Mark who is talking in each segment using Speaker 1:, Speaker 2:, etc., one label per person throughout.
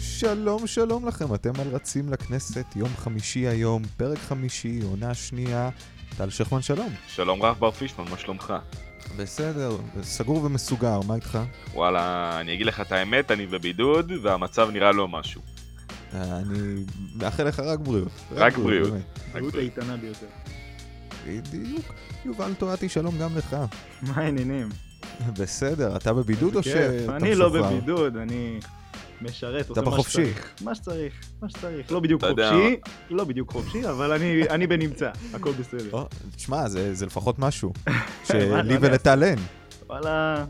Speaker 1: שלום, שלום לכם, אתם על רצים לכנסת, יום חמישי היום, פרק חמישי, עונה שנייה. טל שכמן, שלום.
Speaker 2: שלום רב בר פישמן, מה שלומך?
Speaker 1: בסדר, סגור ומסוגר, מה איתך?
Speaker 2: וואלה, אני אגיד לך את האמת, אני בבידוד, והמצב נראה לא משהו.
Speaker 1: אה, אני מאחל לך רק בריאות.
Speaker 2: רק בריאות.
Speaker 1: באמת.
Speaker 3: הבריאות האיתנה ביותר.
Speaker 1: בדיוק. יובל טועתי, שלום גם לך.
Speaker 3: מה העניינים?
Speaker 1: בסדר, אתה בבידוד או
Speaker 3: כיף.
Speaker 1: שאתה
Speaker 3: אני לא
Speaker 1: משוחרר?
Speaker 3: בבידוד, אני משרת, עושה מה
Speaker 1: בחופשי.
Speaker 3: שצריך. מה שצריך, מה שצריך. לא בדיוק
Speaker 2: אתה יודע-
Speaker 3: חופשי, לא בדיוק חופשי, אבל אני- אני בנמצא, הכל בסדר.
Speaker 1: או, תשמע, זה זה לפחות משהו.
Speaker 3: מה,
Speaker 1: שלי
Speaker 3: לא
Speaker 1: ולטל אין.
Speaker 3: וואלה, אה,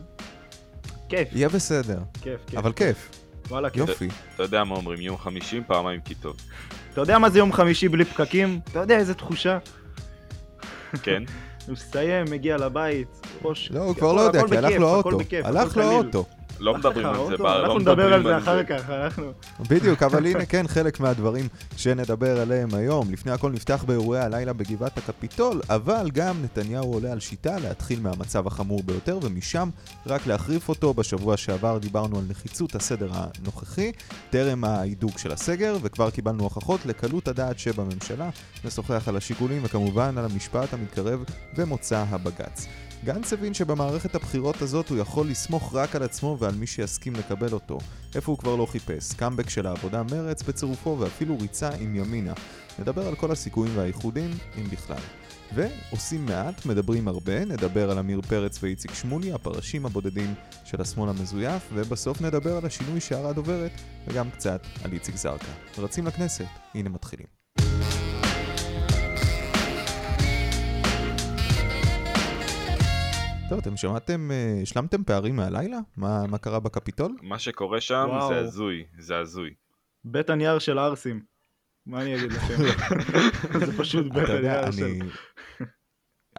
Speaker 3: כיף,
Speaker 1: יהיה בסדר,
Speaker 3: כיף, כיף.
Speaker 1: אבל כיף.
Speaker 3: וואלה, כיף.
Speaker 1: יופי.
Speaker 2: אתה יודע מה אומרים, יום חמישים פעמיים כי טוב.
Speaker 3: אתה יודע מה זה יום חמישי בלי פקקים? אתה יודע איזה תחושה?
Speaker 2: כן?
Speaker 3: הוא מסיים, מגיע לבית, ראש...
Speaker 1: לא, הוא
Speaker 3: הכל-
Speaker 1: כבר לא יודע,
Speaker 3: הכל
Speaker 1: כי הלך
Speaker 3: בכיף,
Speaker 1: לו
Speaker 3: הכל
Speaker 1: האוטו.
Speaker 3: בכיף, הכל
Speaker 1: הלך לו
Speaker 3: קליל.
Speaker 1: האוטו.
Speaker 2: לא
Speaker 3: הלך
Speaker 2: מדברים
Speaker 3: לך
Speaker 2: על זה,
Speaker 3: האוטו?
Speaker 2: בר,
Speaker 3: אנחנו
Speaker 2: לא
Speaker 3: נדבר על
Speaker 2: מדברים
Speaker 3: זה אחר כך, אנחנו...
Speaker 1: בדיוק, אבל הנה כן, חלק מהדברים שנדבר עליהם היום. לפני הכל נפתח באירועי הלילה בגבעת הקפיטול, אבל גם נתניהו עולה על שיטה להתחיל מהמצב החמור ביותר, ומשם רק להחריף אותו. בשבוע שעבר דיברנו על נחיצות הסדר הנוכחי, טרם ההידוק של הסגר, וכבר קיבלנו הוכחות לקלות הדעת שבממשלה. נשוחח על השיקולים, וכמובן על המשפט המתקרב ומוצא הבג"ץ. גנץ הבין שבמערכת הבחירות הזאת הוא יכול לסמוך רק על עצמו ועל מי שיסכים לקבל אותו. איפה הוא כבר לא חיפש, קאמבק של העבודה מרץ בצירופו ואפילו ריצה עם ימינה. נדבר על כל הסיכויים והייחודים, אם בכלל. ועושים מעט, מדברים הרבה, נדבר על עמיר פרץ ואיציק שמולי, הפרשים הבודדים של השמאל המזויף, ובסוף נדבר על השינוי שערה דוברת, וגם קצת על איציק זרקא. רצים לכנסת, הנה מתחילים. טוב, אתם שמעתם, אה, השלמתם פערים מהלילה? מה, מה קרה בקפיטול?
Speaker 2: מה שקורה שם
Speaker 3: וואו.
Speaker 2: זה הזוי, זה הזוי.
Speaker 3: בית הנייר של הערסים. מה אני אגיד לכם? זה פשוט בית
Speaker 1: אתה יודע,
Speaker 3: הנייר של...
Speaker 1: אני...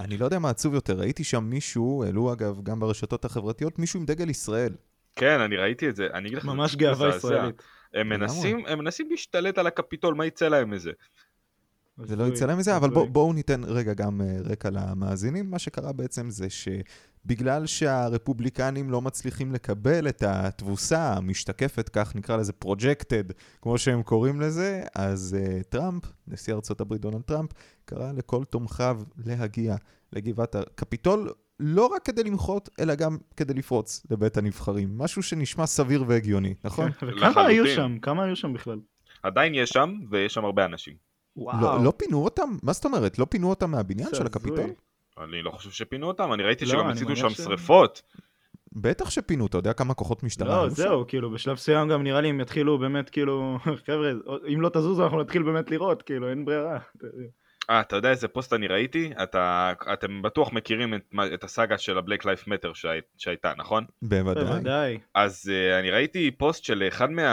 Speaker 1: אני לא יודע מה עצוב יותר, ראיתי שם מישהו, העלו אגב גם ברשתות החברתיות, מישהו עם דגל ישראל.
Speaker 2: כן, אני ראיתי את זה, אני אגיד לך,
Speaker 3: ממש
Speaker 2: זה
Speaker 3: גאווה
Speaker 2: מזעזע.
Speaker 3: ישראלית.
Speaker 2: הם מנסים, הם מנסים להשתלט על הקפיטול, מה יצא להם מזה?
Speaker 1: זה לא יצא להם מזה, אבל בוא- בואו ניתן רגע גם אה, רקע למאזינים. מה שקרה בעצם זה שבגלל שהרפובליקנים לא מצליחים לקבל את התבוסה המשתקפת, כך נקרא לזה פרוג'קטד, כמו שהם קוראים לזה, אז אה, טראמפ, נשיא ארצות הברית דונלד טראמפ, קרא לכל תומכיו להגיע לגבעת הקפיטול. לא רק כדי למחות, אלא גם כדי לפרוץ לבית הנבחרים. משהו שנשמע סביר והגיוני, נכון?
Speaker 3: וכמה היו
Speaker 2: לחלוטין.
Speaker 3: שם? כמה היו שם בכלל?
Speaker 2: עדיין יש שם, ויש שם הרבה אנשים.
Speaker 1: לא, לא פינו אותם? מה זאת אומרת? לא פינו אותם מהבניין
Speaker 3: זה
Speaker 1: של
Speaker 3: הזוי.
Speaker 1: הקפיטול?
Speaker 2: אני לא חושב שפינו אותם, אני ראיתי
Speaker 3: לא,
Speaker 2: שגם
Speaker 3: אני
Speaker 2: הציתו
Speaker 3: מניח
Speaker 2: שם
Speaker 3: ש-
Speaker 2: שריפות.
Speaker 1: בטח שפינו, אתה יודע כמה כוחות משטרה
Speaker 3: לא,
Speaker 1: היו שם?
Speaker 3: זהו, כאילו, בשלב מסוים גם נראה לי הם יתחילו באמת, כאילו, חבר'ה, אם לא תזוזו אנחנו נתחיל באמת לראות, כאילו, אין ברירה.
Speaker 2: אה, אתה יודע איזה פוסט אני ראיתי? אתה, אתם בטוח מכירים את, מה- את הסאגה של ה-Black Life Matter שהי, שהייתה, נכון?
Speaker 1: בוודאי.
Speaker 3: בוודאי.
Speaker 2: אז uh, אני ראיתי פוסט של אחד מה,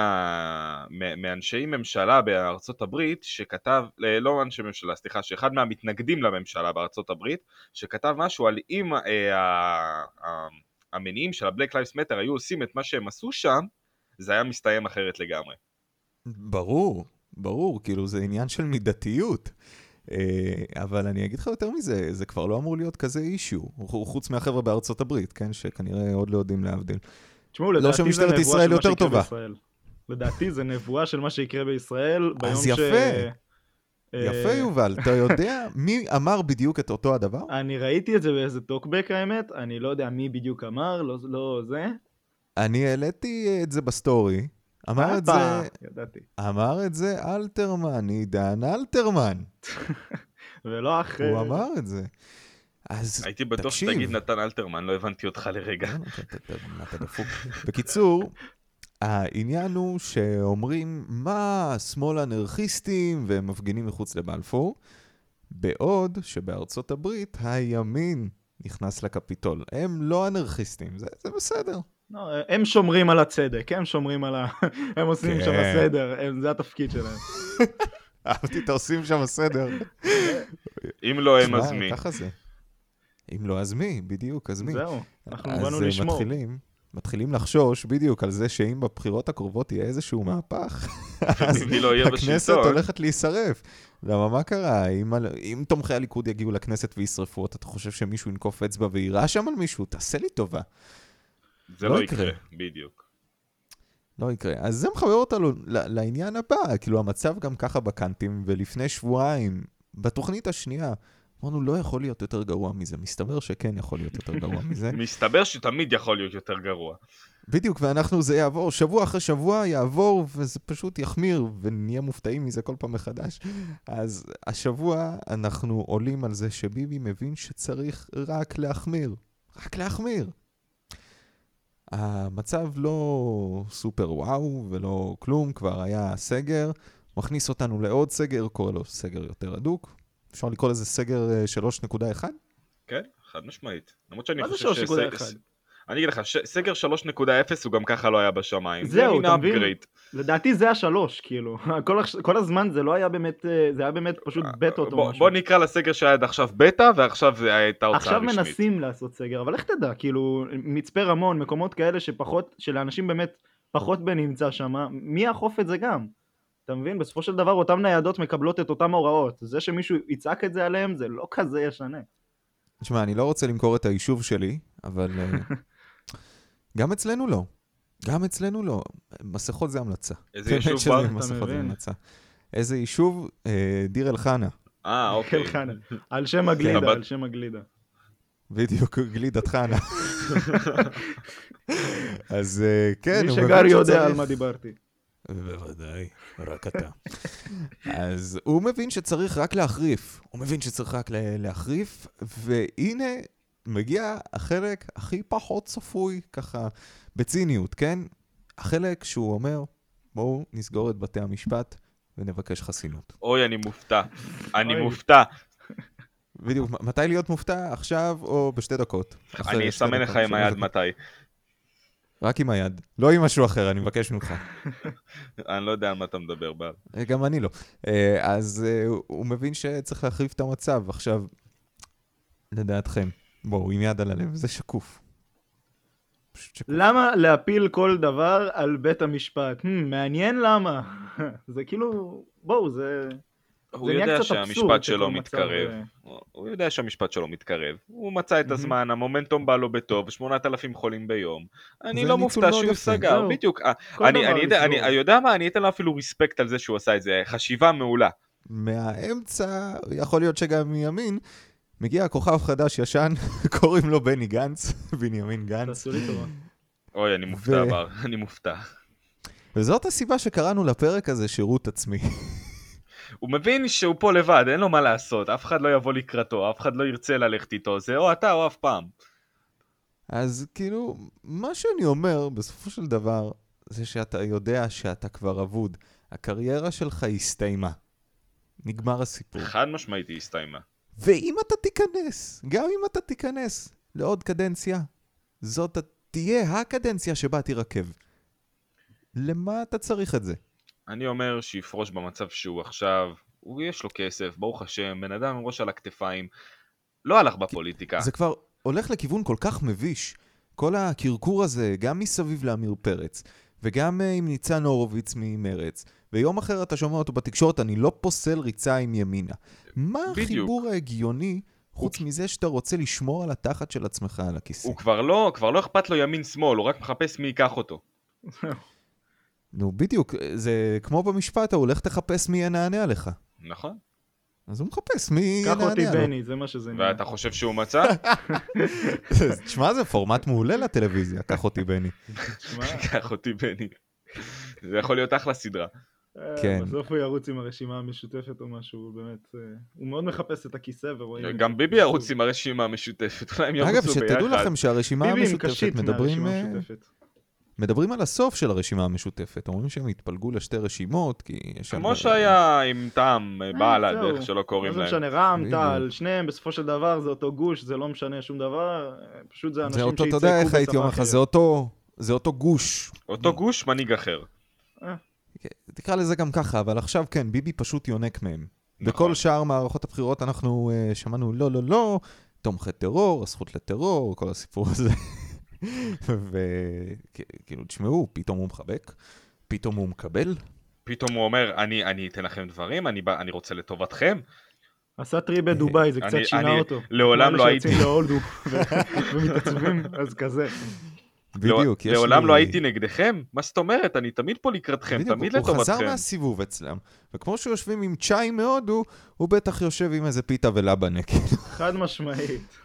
Speaker 2: מה, מאנשי ממשלה בארצות הברית שכתב, אה, לא אנשי ממשלה, סליחה, שאחד מהמתנגדים לממשלה בארצות הברית, שכתב משהו על אם uh, ה, המניעים של ה-Black Lives Matter היו עושים את מה שהם עשו שם, זה היה מסתיים אחרת לגמרי.
Speaker 1: ברור, ברור, כאילו זה עניין של מידתיות. אה, אבל אני אגיד לך יותר מזה, זה כבר לא אמור להיות כזה אישיו, חוץ מהחבר'ה בארצות הברית, כן? שכנראה עוד לא יודעים להבדיל.
Speaker 3: תשמעו, לדעתי זה
Speaker 1: לא שמשטרת
Speaker 3: נבואה
Speaker 1: ישראל
Speaker 3: של מה
Speaker 1: יותר
Speaker 3: שיקרה
Speaker 1: טובה.
Speaker 3: בישראל. לדעתי זה נבואה של מה שיקרה בישראל ביום
Speaker 1: אז
Speaker 3: ש...
Speaker 1: יפה.
Speaker 3: אה,
Speaker 1: יפה, יובל, אתה יודע מי אמר בדיוק את אותו הדבר?
Speaker 3: אני ראיתי את זה באיזה טוקבק האמת, אני לא יודע מי בדיוק אמר, לא- לא זה.
Speaker 1: אני העליתי את זה בסטורי, אמר את
Speaker 3: הופה,
Speaker 1: זה,
Speaker 3: ידעתי.
Speaker 1: אמר את זה אלתרמן, עידן אלתרמן,
Speaker 3: ולא אחרי...
Speaker 1: הוא אמר את זה. אז
Speaker 2: הייתי בטוח
Speaker 1: תקשיב.
Speaker 2: שתגיד נתן אלתרמן, לא הבנתי אותך לרגע.
Speaker 1: כן, אתה- אתה- אתה- אתה דפוק. בקיצור, העניין הוא שאומרים, מה, שמאל אנרכיסטים, והם מפגינים מחוץ לבלפור, בעוד שבארצות הברית הימין נכנס לקפיטול. הם לא אנרכיסטים, זה, זה בסדר.
Speaker 3: לא, הם שומרים על הצדק, הם שומרים על ה... הם עושים שם
Speaker 1: כן.
Speaker 3: סדר, הם- זה התפקיד שלהם.
Speaker 1: אהבתי את העושים שם סדר.
Speaker 2: אם לא הם
Speaker 1: שמע,
Speaker 2: אז מי?
Speaker 1: ככה זה. אם לא, אז מי? בדיוק, אז מי?
Speaker 3: זהו, אנחנו
Speaker 1: אז,
Speaker 3: באנו
Speaker 1: אה,
Speaker 3: לשמור.
Speaker 1: מתחילים, מתחילים לחשוש בדיוק על זה שאם בבחירות הקרובות יהיה איזשהו מהפך, אז
Speaker 2: ביבי לא יהיה
Speaker 1: הכנסת
Speaker 2: בשלטון.
Speaker 1: הולכת להישרף. למה, מה קרה? אם, ה- אם תומכי הליכוד יגיעו לכנסת וישרפו אותה, אתה חושב שמישהו ינקוף אצבע ויירה שם על מישהו? תעשה לי טובה.
Speaker 2: זה
Speaker 1: לא
Speaker 2: לא
Speaker 1: יקרה.
Speaker 2: יקרה, בדיוק.
Speaker 1: לא יקרה. אז זה מחבר אותנו ל- לעניין הבא, כאילו המצב גם ככה בקאנטים, ולפני שבועיים, בתוכנית השנייה, אמרנו, לא יכול להיות יותר גרוע מזה. מסתבר שכן יכול להיות יותר גרוע מזה.
Speaker 2: מסתבר שתמיד יכול להיות יותר גרוע.
Speaker 1: בדיוק, ואנחנו, זה יעבור, שבוע אחרי שבוע יעבור, וזה פשוט יחמיר, ונהיה מופתעים מזה כל פעם מחדש. אז השבוע אנחנו עולים על זה שביבי מבין שצריך רק להחמיר. רק להחמיר. המצב לא סופר וואו ולא כלום, כבר היה סגר, מכניס אותנו לעוד סגר, קורא לו סגר יותר הדוק. אפשר לקרוא לזה סגר אה, 3.1?
Speaker 2: כן, חד משמעית. למרות שאני
Speaker 3: מה זה
Speaker 2: חושב
Speaker 3: 3.1?
Speaker 2: שסגר- אני אגיד לך, ש- סגר 3.0 הוא גם ככה לא היה בשמיים.
Speaker 3: זהו,
Speaker 2: זה מין
Speaker 3: אתה מבין?
Speaker 2: upgrade.
Speaker 3: לדעתי זה השלוש, כאילו. כל, הש- כל הזמן זה לא היה באמת, אה, זה היה באמת פשוט בטות או
Speaker 2: בוא-
Speaker 3: משהו.
Speaker 2: בוא נקרא לסגר שהיה עד עכשיו בטא, ועכשיו זה הייתה הוצאה
Speaker 3: עכשיו
Speaker 2: רשמית.
Speaker 3: מנסים לעשות סגר, אבל איך תדע, כאילו, מצפה רמון, מקומות כאלה שפחות, שלאנשים באמת פחות בנמצא שם, מי יאכוף את זה גם? אתה מבין? בסופו של דבר אותן ניידות מקבלות את אותן הוראות. זה שמישהו יצעק את זה עליהם, זה לא כזה ישנה.
Speaker 1: תשמע, אני לא רוצה למכור את היישוב שלי, אבל אה, גם אצלנו לא. גם אצלנו לא. מסכות זה המלצה.
Speaker 2: איזה
Speaker 1: באמת
Speaker 2: יישוב
Speaker 1: שזה
Speaker 2: בר? אתה
Speaker 1: מסכות זה
Speaker 3: מבין?
Speaker 1: המלצה. איזה יישוב? אה, דיר אל-חנה.
Speaker 2: אה, אוקיי.
Speaker 3: אלחנה. כן, על שם הגלידה,
Speaker 2: אבל-
Speaker 3: על שם הגלידה.
Speaker 1: בדיוק, גלידת חנה. אז אה, כן,
Speaker 3: מי
Speaker 1: הוא
Speaker 3: שגר
Speaker 1: מבין
Speaker 3: יודע
Speaker 1: שצריך-
Speaker 3: על מה דיברתי.
Speaker 1: בוודאי, רק אתה. אז הוא מבין שצריך רק להחריף. הוא מבין שצריך רק לה- להחריף, והנה מגיע החלק הכי פחות צפוי, ככה, בציניות, כן? החלק שהוא אומר, בואו נסגור את בתי המשפט ונבקש חסינות.
Speaker 2: אוי, אני מופתע. אני
Speaker 3: אוי.
Speaker 2: מופתע.
Speaker 1: בדיוק, מ- מתי להיות מופתע? עכשיו או בשתי דקות? אחרי
Speaker 2: אני
Speaker 1: שתי
Speaker 2: אסמן
Speaker 1: דקות,
Speaker 2: לך עם
Speaker 1: שלוש
Speaker 2: היד
Speaker 1: דקות.
Speaker 2: מתי.
Speaker 1: רק עם היד, לא עם משהו אחר, אני מבקש ממך.
Speaker 2: אני לא יודע על מה אתה מדבר, בר.
Speaker 1: אה, גם אני לא. אה, אז אה, הוא- הוא מבין שצריך להחריף את המצב. עכשיו, לדעתכם, בואו, עם יד על הלב, זה שקוף. פשוט שקוף.
Speaker 3: למה להפיל כל דבר על בית המשפט? Hmm, מעניין למה. זה כאילו, בואו, זה...
Speaker 2: הוא
Speaker 3: זה נהיה
Speaker 2: יודע
Speaker 3: קצת
Speaker 2: שהמשפט
Speaker 3: אבסורד
Speaker 2: שלו
Speaker 3: שכל מצב,
Speaker 2: מתקרב.
Speaker 3: אה,
Speaker 2: הוא יודע שהמשפט שלו מתקרב. הוא מצא את
Speaker 3: מהמם.
Speaker 2: הזמן, המומנטום בא לו בטוב, 8,000 חולים ביום. אני
Speaker 1: זה ניצול
Speaker 2: לא מופתע
Speaker 1: מאוד
Speaker 2: שהוא
Speaker 1: יפה.
Speaker 2: סגר,
Speaker 3: זהו.
Speaker 2: בדיוק. אה,
Speaker 3: כל
Speaker 2: אני-
Speaker 3: דבר
Speaker 2: אני יודע- אני
Speaker 3: לסגור.
Speaker 2: אני יודע מה, אני אתן לו אפילו ריספקט על זה שהוא עשה את זה. חשיבה מעולה.
Speaker 1: מהאמצע, יכול להיות שגם מימין, מגיע כוכב חדש-ישן, קוראים לו בני גנץ, בנימין גנץ.
Speaker 3: תעשו לי טובה.
Speaker 2: אוי, אני מופתע,
Speaker 1: ו-
Speaker 2: בר. אני מופתע.
Speaker 1: וזאת הסיבה שקראנו לפרק הזה שירות עצמי.
Speaker 2: הוא מבין שהוא פה לבד, אין לו מה לעשות. אף אחד לא יבוא לקראתו, אף אחד לא ירצה ללכת איתו. זה או אתה או אף פעם.
Speaker 1: אז כאילו, מה שאני אומר, בסופו של דבר, זה שאתה יודע שאתה כבר אבוד. הקריירה שלך הסתיימה. נגמר הסיפור.
Speaker 2: חד משמעית היא הסתיימה.
Speaker 1: ואם אתה תיכנס, גם אם אתה תיכנס לעוד קדנציה, זאת ת- תהיה הקדנציה שבה תירקב. למה אתה צריך את זה?
Speaker 2: אני אומר שיפרוש במצב שהוא עכשיו, הוא יש לו כסף, ברוך השם, בן אדם עם ראש על הכתפיים, לא הלך בפוליטיקה.
Speaker 1: זה כבר הולך לכיוון כל כך מביש. כל הקרקור הזה, גם מסביב לעמיר פרץ, וגם אה, עם ניצן הורוביץ ממרץ, ויום אחר אתה שומע אותו בתקשורת, אני לא פוסל ריצה עם ימינה. מה
Speaker 2: בדיוק.
Speaker 1: החיבור ההגיוני, חוץ מזה שאתה רוצה לשמור על התחת של עצמך על הכיסא?
Speaker 2: הוא כבר לא, כבר לא אכפת לו ימין-שמאל, הוא רק מחפש מי ייקח אותו.
Speaker 1: נו, בדיוק, זה כמו במשפט ההוא, לך תחפש מי ינענע לך.
Speaker 2: נכון.
Speaker 1: אז הוא מחפש מי
Speaker 3: קח אותי
Speaker 1: ינענע לו.
Speaker 3: בני, זה מה שזה נראה.
Speaker 2: ואתה חושב שהוא מצא?
Speaker 1: תשמע, זה פורמט מעולה לטלוויזיה, קח אותי בני.
Speaker 3: תשמע,
Speaker 2: קח אותי בני. זה יכול להיות אחלה סדרה.
Speaker 3: אה,
Speaker 1: כן.
Speaker 3: בסוף הוא ירוץ עם הרשימה המשותפת או משהו, הוא באמת, אה, הוא מאוד מחפש את הכיסא ורואים... את זה.
Speaker 2: גם ביבי ירוץ עם הרשימה המשותפת, אולי הם ירוצו
Speaker 1: אגב,
Speaker 2: ביחד.
Speaker 1: שתדעו לכם שהרשימה
Speaker 3: ביבי עם
Speaker 1: המשותפת
Speaker 3: קשית
Speaker 1: מדברים...
Speaker 3: מהרשימה
Speaker 1: אה,
Speaker 3: המשותפת.
Speaker 1: מדברים על הסוף של הרשימה המשותפת, אומרים שהם התפלגו לשתי רשימות, כי יש... שם-
Speaker 2: כמו שהיה עם טעם, בל"ד,
Speaker 3: אה, זהו.
Speaker 2: איך שלא
Speaker 3: מה
Speaker 2: קוראים
Speaker 3: זה
Speaker 2: להם.
Speaker 3: משנה, רע"מ,
Speaker 1: בדיוק.
Speaker 3: תע"ל, שניהם בסופו של דבר זה אותו גוש, זה לא משנה שום דבר, אה, פשוט זה אנשים
Speaker 1: זה
Speaker 3: שיצעקו
Speaker 1: אותו, אתה
Speaker 3: בצבא
Speaker 1: יודע איך הייתי אומר לך,
Speaker 3: אחרת.
Speaker 1: זה אותו, זה אותו גוש.
Speaker 2: אותו גוש, מנהיג אחר.
Speaker 1: תקרא לזה גם ככה, אבל עכשיו כן, ביבי פשוט יונק מהם.
Speaker 2: נכון.
Speaker 1: בכל שאר מערכות הבחירות אנחנו אה, שמענו לא, לא, לא, תומכי טרור, הזכות לטרור, כל הסיפור הזה. וכאילו, תשמעו, פתאום הוא מחבק, פתאום הוא מקבל.
Speaker 2: פתאום הוא אומר, "אני- אני אתן לכם דברים, אני בא- אני רוצה לטובתכם.
Speaker 3: עשה טריפ בדובאי, זה קצת
Speaker 2: אה, אני-
Speaker 3: שינה
Speaker 2: אני
Speaker 3: אותו.
Speaker 2: לעולם
Speaker 3: כמו
Speaker 2: לא
Speaker 3: אלה שיוצאים
Speaker 2: הייתי-
Speaker 3: להודו ו- ומתעצבים, אז כזה.
Speaker 1: בדיוק, יש לי...
Speaker 2: לעולם לא הייתי נגדכם? מה זאת אומרת? אני תמיד פה לקראתכם,
Speaker 1: בדיוק,
Speaker 2: תמיד
Speaker 1: הוא חזר
Speaker 2: לטובתכם.
Speaker 1: מהסיבוב אצלם, וכמו שיושבים עם צ'אי מהודו, הוא בטח יושב עם איזה פיתה ולבנה, כאילו.
Speaker 3: חד משמעית.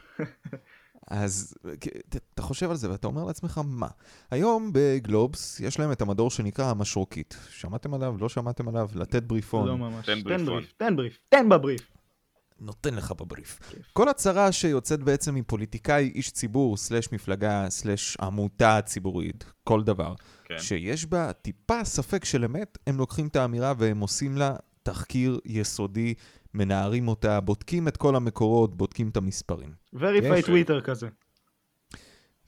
Speaker 1: אז כ- ת- אתה חושב על זה ואתה אומר לעצמך, מה? היום בגלובס יש להם את המדור שנקרא המשרוקית. שמעתם עליו? לא שמעתם עליו? לתת בריפון.
Speaker 3: לא ממש.
Speaker 2: תן
Speaker 3: תן
Speaker 2: בריפון.
Speaker 3: בריף, תן בריף, תן בבריף.
Speaker 1: נותן לך בבריף. כל הצהרה שיוצאת בעצם מפוליטיקאי, איש ציבור, סלש מפלגה, סלש עמותה ציבורית, כל דבר,
Speaker 2: כן.
Speaker 1: שיש בה טיפה ספק של אמת, הם לוקחים את האמירה והם עושים לה תחקיר יסודי, מנערים אותה, בודקים את כל המקורות, בודקים את המספרים.
Speaker 3: וריפיי
Speaker 1: יפה.
Speaker 3: טוויטר כזה.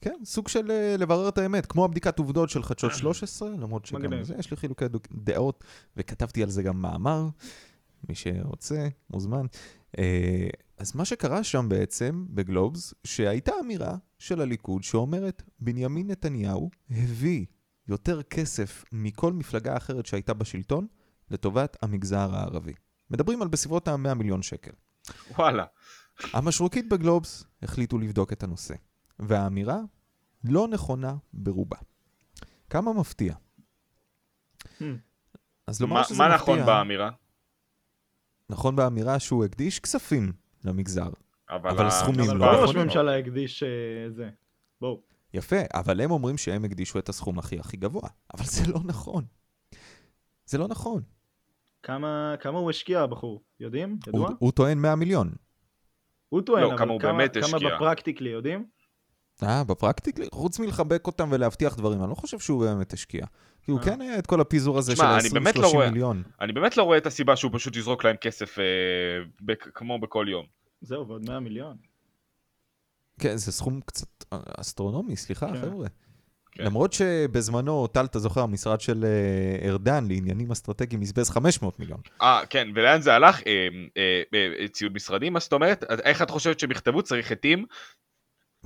Speaker 1: כן, סוג של אה, לברר את האמת, כמו הבדיקת עובדות של חדשות 13, למרות שגם
Speaker 3: מגניב.
Speaker 1: זה יש לי חילוקי דוק- דעות, וכתבתי על זה גם מאמר, מי שרוצה, מוזמן. אה, אז מה שקרה שם בעצם, בגלובס, שהייתה אמירה של הליכוד שאומרת, בנימין נתניהו הביא יותר כסף מכל מפלגה אחרת שהייתה בשלטון לטובת המגזר הערבי. מדברים על בסביבות ה-100 מיליון שקל.
Speaker 2: וואלה.
Speaker 1: המשרוקית בגלובס החליטו לבדוק את הנושא, והאמירה לא נכונה ברובה. כמה מפתיע.
Speaker 3: Hmm.
Speaker 1: אז לומר
Speaker 2: מה
Speaker 1: שזה
Speaker 2: מה
Speaker 1: מפתיע,
Speaker 2: נכון באמירה?
Speaker 1: נכון באמירה שהוא הקדיש כספים למגזר. אבל
Speaker 2: ה-
Speaker 1: הסכומים
Speaker 3: אבל
Speaker 1: לא
Speaker 3: כל ראש
Speaker 1: נכונים.
Speaker 3: ממשלה הקדיש אה, זה. בואו.
Speaker 1: יפה, אבל הם אומרים שהם הקדישו את הסכום הכי הכי גבוה, אבל זה לא נכון. זה לא נכון.
Speaker 3: כמה כמה הוא השקיע הבחור? יודעים?
Speaker 1: הוא,
Speaker 3: ידוע?
Speaker 1: הוא טוען 100 מיליון.
Speaker 3: הוא טוען,
Speaker 2: לא,
Speaker 3: אבל
Speaker 2: כמה הוא
Speaker 3: כמה-
Speaker 2: באמת
Speaker 3: כמה
Speaker 2: השקיע.
Speaker 3: בפרקטיקלי, יודעים?
Speaker 1: אה, בפרקטיקלי, חוץ מלחבק אותם ולהבטיח דברים, אני לא חושב שהוא באמת השקיע. כי הוא
Speaker 3: אה.
Speaker 1: כן היה את כל הפיזור הזה של
Speaker 2: תשמע, אני באמת לא
Speaker 1: 20-30
Speaker 2: רואה.
Speaker 1: מיליון.
Speaker 2: אני באמת לא רואה את הסיבה שהוא פשוט יזרוק להם כסף אה, בק- כמו בכל יום.
Speaker 3: זהו, ועוד 100 מיליון.
Speaker 1: כן, זה סכום קצת אסטרונומי, סליחה,
Speaker 3: כן.
Speaker 1: חבר'ה.
Speaker 2: כן.
Speaker 1: למרות שבזמנו, טל, אתה זוכר, המשרד של אה, ארדן לעניינים אסטרטגיים בזבז 500 מיליון.
Speaker 2: אה, כן, ולאן זה הלך? אה, אה, אה, ציוד משרדים? מה זאת אומרת? אז איך את חושבת שהם יכתבו צריך עטים?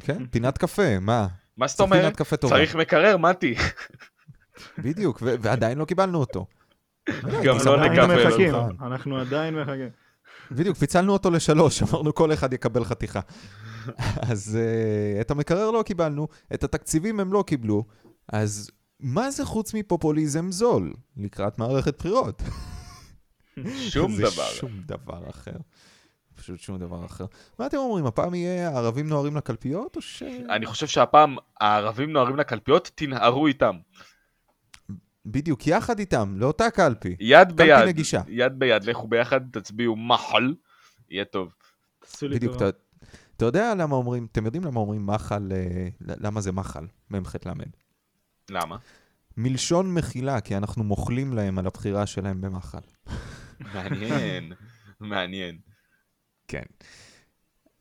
Speaker 1: כן, פינת קפה, מה?
Speaker 2: מה זאת
Speaker 1: צריך
Speaker 2: אומרת?
Speaker 1: פינת קפה טובה.
Speaker 2: צריך מקרר, מתי.
Speaker 1: בדיוק, ו- ועדיין לא קיבלנו אותו.
Speaker 2: גם
Speaker 1: הייתי
Speaker 2: לא
Speaker 1: שמח
Speaker 2: נקבל
Speaker 1: לקבל
Speaker 3: אנחנו
Speaker 2: נקבל
Speaker 1: אותו.
Speaker 3: מחכים, אנחנו עדיין מחכים.
Speaker 1: בדיוק, פיצלנו אותו לשלוש, אמרנו כל אחד יקבל חתיכה. אז אה, את המקרר לא קיבלנו, את התקציבים הם לא קיבלו, אז מה זה חוץ מפופוליזם זול לקראת מערכת בחירות?
Speaker 2: שום
Speaker 1: זה
Speaker 2: דבר.
Speaker 1: שום דבר אחר. פשוט שום דבר אחר. מה אתם אומרים, הפעם יהיה הערבים נוהרים לקלפיות, או ש...
Speaker 2: אני חושב שהפעם הערבים נוהרים לקלפיות, תנערו איתם.
Speaker 1: בדיוק, יחד איתם, לאותה קלפי.
Speaker 2: יד
Speaker 1: קלפי
Speaker 2: ביד.
Speaker 1: נגישה.
Speaker 2: יד ביד, לכו ביחד, תצביעו מחל. יהיה טוב.
Speaker 3: תעשו לי
Speaker 1: בדיוק,
Speaker 3: טובה.
Speaker 1: אתה- אתה יודע למה אומרים, אתם יודעים למה אומרים מחל, אה, למה זה מחל, מ"ח למ"ד.
Speaker 2: למה?
Speaker 1: מלשון מחילה, כי אנחנו מוחלים להם על הבחירה שלהם במחל.
Speaker 2: מעניין. מעניין.
Speaker 1: כן.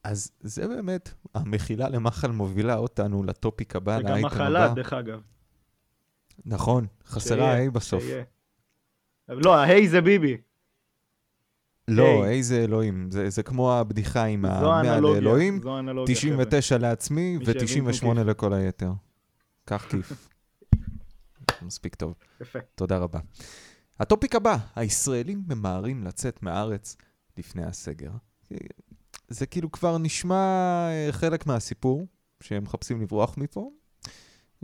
Speaker 1: אז זה באמת, המחילה למחל מובילה אותנו לטופיק הבא,
Speaker 3: זה גם
Speaker 1: לאייטם
Speaker 3: מחלה,
Speaker 1: הבא.
Speaker 3: דרך אגב.
Speaker 1: נכון, חסרה
Speaker 3: שיהיה,
Speaker 1: ה בסוף.
Speaker 3: שיהיה. לא, ההיי זה ביבי.
Speaker 1: לא,
Speaker 3: היי.
Speaker 1: איזה אלוהים, זה זה כמו הבדיחה עם
Speaker 3: זו
Speaker 1: המאה
Speaker 3: האנלוגיה.
Speaker 1: לאלוהים,
Speaker 3: זו האנלוגיה. חבר'ה.
Speaker 1: 99 לעצמי
Speaker 3: מי שהבין
Speaker 1: ו-98
Speaker 3: כמו כיף.
Speaker 1: לכל היתר. קח כיף. מספיק טוב.
Speaker 3: יפה.
Speaker 1: תודה רבה. הטופיק הבא, הישראלים ממהרים לצאת מהארץ לפני הסגר. זה כאילו כבר נשמע אה, חלק מהסיפור, שהם מחפשים לברוח מפה.